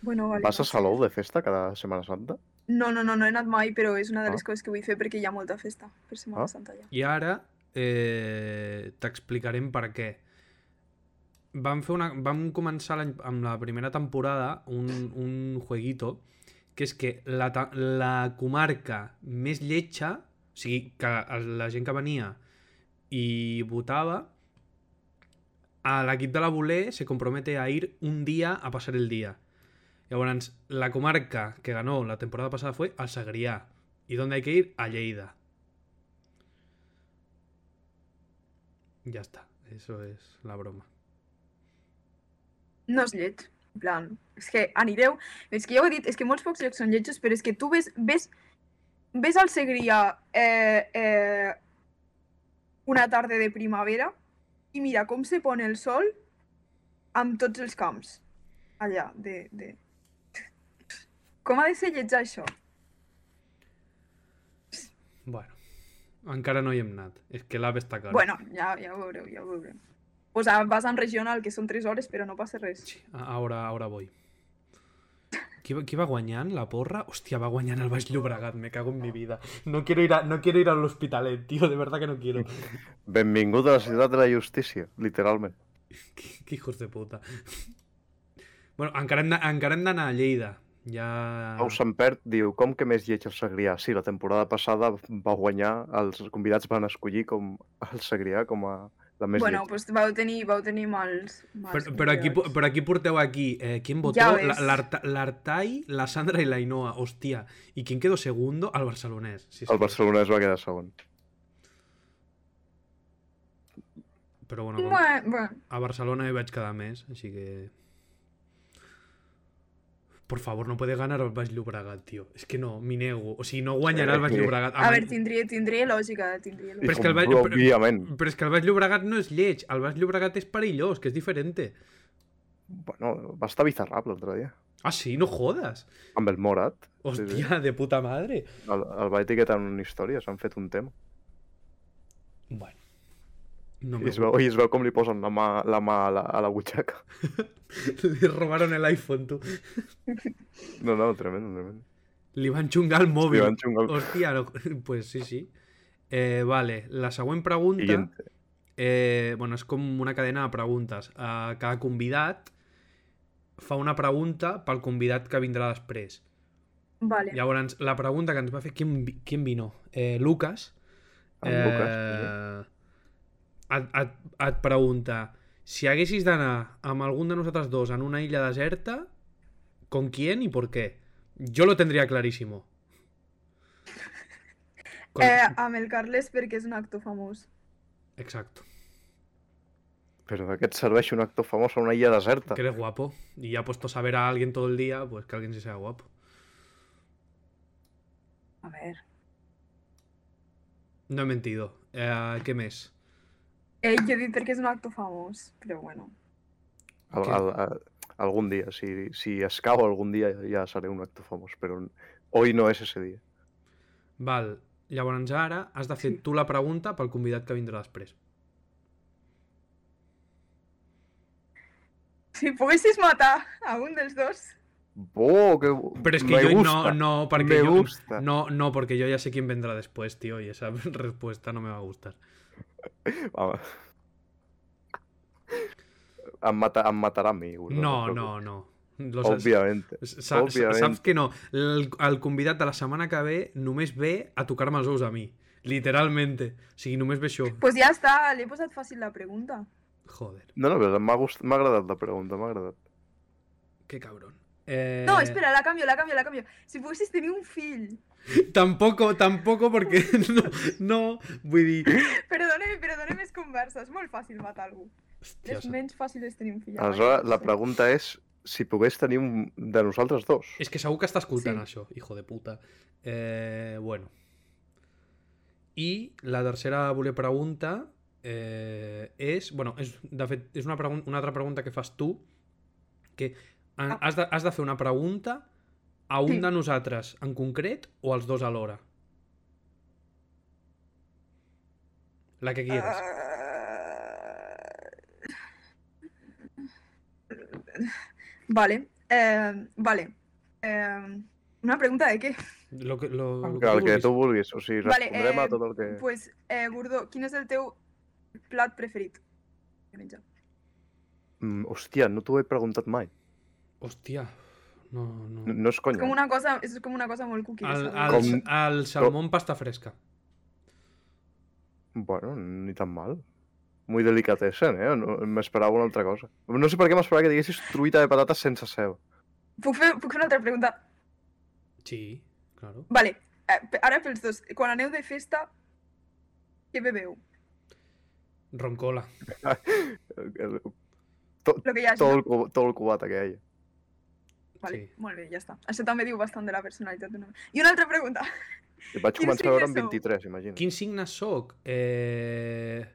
Bueno, vale. Vas a Salou de festa cada Setmana Santa? No, no, no, no he anat mai, però és una de les Ah. coses que vull fer perquè hi ha molta festa per Setmana Ah. Santa ja. I ara eh, t'explicarem per què. Vam, fer una, vam començar l'any- amb la primera temporada un, un jueguito que és que la, ta- la comarca més lletja, o sigui, que el- la gent que venia i votava, a l'equip de la Voler se compromete a ir un dia a passar el dia. Llavors, la comarca que ganó la temporada pasada fue al Segrià. ¿Y dónde hay que ir? A Lleida. Ya está, eso es la broma. No és lleig, en plan, és que anireu... És que ja ho he dit, és que molts pocs llocs són lletjos, però és que tu ves, ves, ves al Segrià eh, eh, una tarda de primavera i mira com se pon el sol amb tots els camps. Allà, de... de... Com ha de ser lleig això? Bueno, encara no hi hem anat. És que l'app està cara. Bueno, ja, ja ho veureu, ja ho veureu. O sea, vas en regional, que són 3 hores, però no passa res. Sí, a- ara, ara voy. Qui, va- qui va guanyant? La porra? Hòstia, va guanyant el Baix Llobregat, me cago en mi vida. No quiero ir a, no quiero ir a l'Hospitalet, tío, de verdad que no [laughs] quiero. Benvingut a la ciutat de la justícia, literalment. Que, que hijos de puta. Bueno, encara hem de- encara hem d'anar a Lleida. Ja... Pau Sampert diu, com que més lleig el Segrià? Sí, la temporada passada va guanyar, els convidats van escollir com el Segrià com a la més bueno, lleig. pues vau tenir, vau tenir mals... mals Però, però, aquí, convidats. però aquí porteu aquí, eh, ¿quién votó? Ja ho La- és. l'Arta- L'Artai, la Sandra y la Ainhoa, hostia. ¿Y quién quedó segundo? Al barcelonés. Sí, sí. El barcelonès va quedar segon. Però bueno, com... Bueno, bueno, a Barcelona hi vaig cada mes, així que... Por favor, no puede ganar el Baix Llobregat, tío. Es que no, m'hi nego. O sigui, no guanyarà el Baix Llobregat. a veure, tindria, tindria lògica, tindria I Però Mm. lògica. és que el com- Vall- Òbviament. Però és que el Baix Llobregat no és lleig. El Baix Llobregat és perillós, que és diferent. Bueno, va estar bizarrable l'altre dia. Ah, sí? No jodes. Amb el Morat. Hòstia, de puta madre. El, el va etiquetar en una història, s'han fet un tema. Bueno. No I me es veu, i es veu com li posen la mà, la mà a, la, a la butxaca. [laughs] [laughs] Li robaron el iPhone, tu. No, no, tremendo, tremendo. Li van xungar el Li mòbil. van xungar el... Hòstia, no... [laughs] pues sí, sí. Eh, vale, la següent pregunta... Siguiente. Eh, bueno, és com una cadena de preguntes. Eh, cada convidat fa una pregunta pel convidat que vindrà després. Vale. Llavors, la pregunta que ens va fer... Qui, en vi- qui en vino? Eh, Lucas. En Lucas. eh, et, et, et pregunta si haguessis d'anar amb algun de nosaltres dos en una illa deserta, con quién y por qué? Yo lo tendría clarísimo. Con- Eh, amb el Carles perquè és un actor famós. Exacto. Però de què et serveix un actor famós a una illa deserta? Que eres guapo. Y ya puesto a saber a alguien todo el día, pues que alguien se sea guapo. A ver. No he mentido. Eh, ¿Qué mes? Eh, jo he dit perquè és un actor famós, però bueno. [laughs] Al, Que- al, al, algun dia, si, si escau algun dia ja seré un actor famós, però hoy no és ese dia. Val. Llavors ara has de fer tu la pregunta pel convidat que vindrà després. Si poguessis matar a un dels dos... Bo, que bo- Però és que me jo gusta. no, no, perquè me jo, gusta. no, no, porque yo ya sé quién vendrá después, tío, y esa [laughs] respuesta no me va a gustar. Home. Em, mata, em matarà a mi. us No, preocupeu. no, no. Lo saps- Òbviament. sa- sa- òbviament. Saps que no. El, el convidat de la setmana que ve només ve a tocar-me els ous a mi. Literalmente. O sigui, només ve això. Pues ja està, li he posat fàcil la pregunta. Joder, No, no, però m'ha gust- m'ha agradat la pregunta, m'ha agradat. qué cabrón. Eh... No, espera, la canvio, la canvio, la canvio. Si poguessis tenir un fill... Tampoco, tampoco, porque [laughs] no, no, vull dir... Perdoneu, perdoneu més conversa, és molt fàcil matar algú. Hòstia, és menys fàcil és tenir un fill. Aleshores, la pregunta... pregunta és si pogués tenir un de nosaltres dos. és que segur que està escoltant Sí. això, hijo de puta. Eh, bueno. I la tercera volia pregunta eh, és... Bueno, és, de fet, és una, pregun una altra pregunta que fas tu, que en, has, de, has de fer una pregunta a un Ah. Sí. de nosaltres en concret o als dos alhora? La que Ah. quieras. Eh, Vale, eh, vale. Eh, una pregunta de què? Lo que, lo, Em lo El que que, tu vulguis. el que tu vulguis, o sigui, Vale, respondrem eh, a tot el que... Pues, eh, Gordó, quin és el teu plat preferit? de menjar? Mm, hòstia, no t'ho he preguntat mai. Hòstia, no, no. No, no és És conya. com una cosa, és com una cosa molt cookie. El, saps? el, Com- el salmó amb pasta fresca. Bueno, ni tan mal. Muy delicatessen, eh? No, m'esperava una altra cosa. No sé per què m'esperava que diguessis truita de patates sense ceba. Puc, fer, puc fer una altra pregunta? Sí, claro. Vale, eh, pe- ara pels dos. Quan aneu de festa, què bebeu? Roncola. Lo que hi hagi. Tot el, cu- tot el cubata que hi ha. Vale, Sí. molt bé, ja està. Això també diu bastant de la personalitat d'una persona. I una altra pregunta. I vaig Quin començar a veure amb signe sou? 23, imagina't. Quin signe sóc? Eh...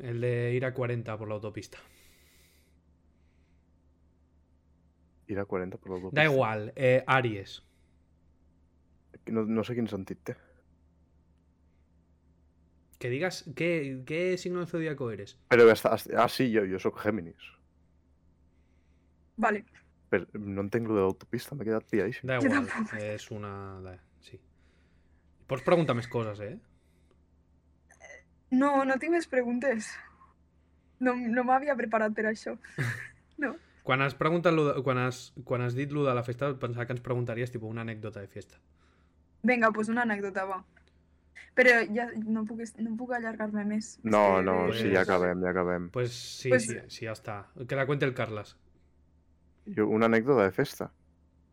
El de ir a 40 por la autopista. Ir a 40 per l'autopista. Da igual, eh, Aries. No, no sé quin sentit té. Que digas qué, qué signo del zodíaco eres. Però està... Ah, sí, jo, jo sóc Géminis. Vale. Però no entenc lo de l'autopista, m'he quedat pillat. Da Yo igual, es una... da- Sí. Pues Pots preguntar més coses, eh? No, no tinc més preguntes. No, no m'havia preparat per això. Quan has, preguntat lo de, quan, has, quan has dit lo de la festa, pensava que ens preguntaries tipo una anècdota de fiesta. Vinga, doncs pues una anècdota, va. Però ja no puc, est- no puc allargar-me més. És No, que- no, Pues- sí, ja acabem, ja acabem. Pues sí, Pues- sí, sí, ya está. Que la cuente el Carlas. Jo, una anècdota de festa.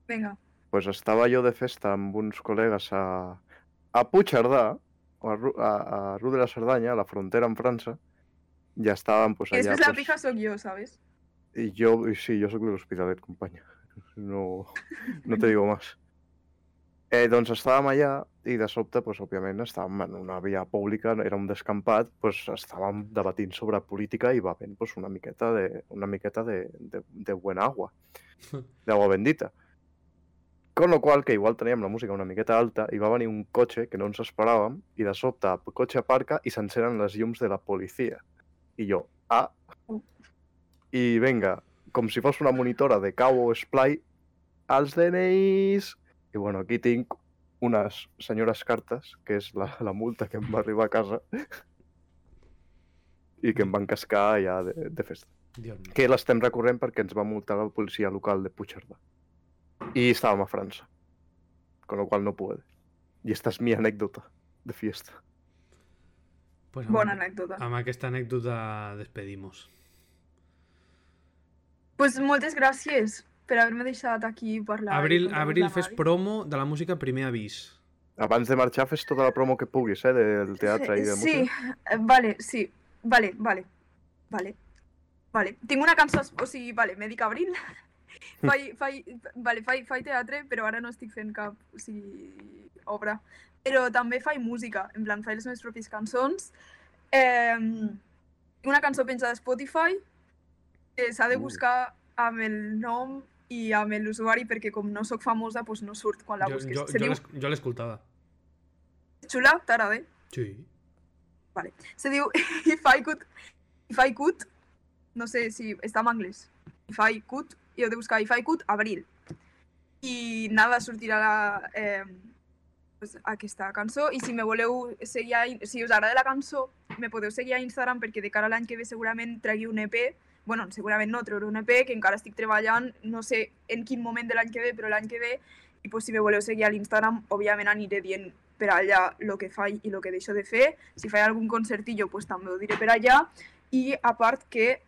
Vinga. pues estava jo de festa amb uns col·legues a, a Puigcerdà, o a, Ru- a, a Ru de la Cerdanya, a la frontera amb França, i estàvem pues, I allà... després la pues, pija sóc jo, ¿sabes? I jo, i sí, jo sóc de l'Hospitalet, companya. [laughs] No, no te digo más. Eh, doncs estàvem allà i de sobte, pues, òbviament, estàvem en una via pública, era un descampat, pues, estàvem debatint sobre política i va havent pues, una miqueta, de, una miqueta de, de, de buen agua, d'agua bendita. Con lo qual, que igual teníem la música una miqueta alta i va venir un cotxe que no ens esperàvem i de sobte el cotxe aparca i s'encenen les llums de la policia. I jo, ah, i venga, com si fos una monitora de cau o esplai, els DNIs... I bueno, aquí tinc unes senyores cartes, que és la, la multa que em va arribar a casa i que em van cascar ja de, de festa. Dios mío. Que l'estem recorrent perquè ens va multar la policia local de Puigcerdà. I estàvem a França. Con lo cual no puede. I esta és mi anècdota de fiesta. Pues amb, Bona anècdota. amb aquesta anècdota despedimos. Pues moltes gràcies per haver-me deixat aquí parlar. i Abril, contar-vos abril la fes Mari. promo de la música Primer Avís. Abans de marxar, fes tota la promo que puguis, eh, del teatre i de Sí, música. eh, vale, sí. Vale, vale. Vale. Vale. Tinc una cançó... es- O sigui, vale, m'he dit [laughs] abril. Fai, fai, vale, fai, fai teatre, però ara no estic fent cap o sigui, obra. Però també fai música, en plan, fai les meves pròpies cançons. Eh, una cançó penjada a Spotify, que s'ha de Uh. buscar amb el nom i amb l'usuari, perquè com no sóc famosa, doncs no surt quan la jo busques. jo, Se jo diu l'es- jo l'he escoltada. Xula, t'agrada? Sí. Se diu [laughs] If I could... If I could... No sé si està en anglès. If I could... I heu de buscar If I could, abril. I nada, sortirà la, eh, pues, aquesta cançó. I si me voleu seguir a... In- Si us agrada la cançó, me podeu seguir a Instagram perquè de cara a l'any que ve segurament tregui un EP. bueno, segurament no, treuré un EP, que encara estic treballant, no sé en quin moment de l'any que ve, però l'any que ve. I pues, si me voleu seguir a l'Instagram, òbviament aniré dient per allà el que faig i el que deixo de fer. Si faig algun concertillo, pues també ho diré per allà. I a part que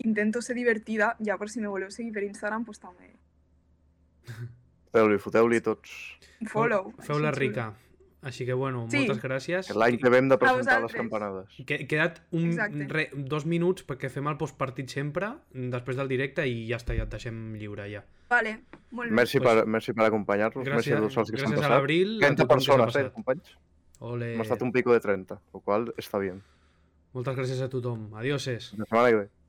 intento ser divertida, ja per si me voleu seguir per Instagram, pues també Feu-li, foteu-li tots. un follow. Feu la així xulo. rica. Així que, bueno, Sí. moltes gràcies. Que l'any que ve hem de presentar les vosaltres. campanades. Que, queda't un, Exacte. re, dos minuts perquè fem el postpartit sempre, després del directe, i ja està, ja et deixem lliure, ja. Vale, molt bé. Merci, Pues- per, merci per acompanyar-nos, merci Gràcies, a tots els que s'han gràcies a passat. l'Abril. a 30 tothom que s'ha persones, eh, passat. Eh, companys? Ole. Hem estat un pico de 30, el qual està bien. Moltes gràcies a tothom. Adioses. La setmana que ve.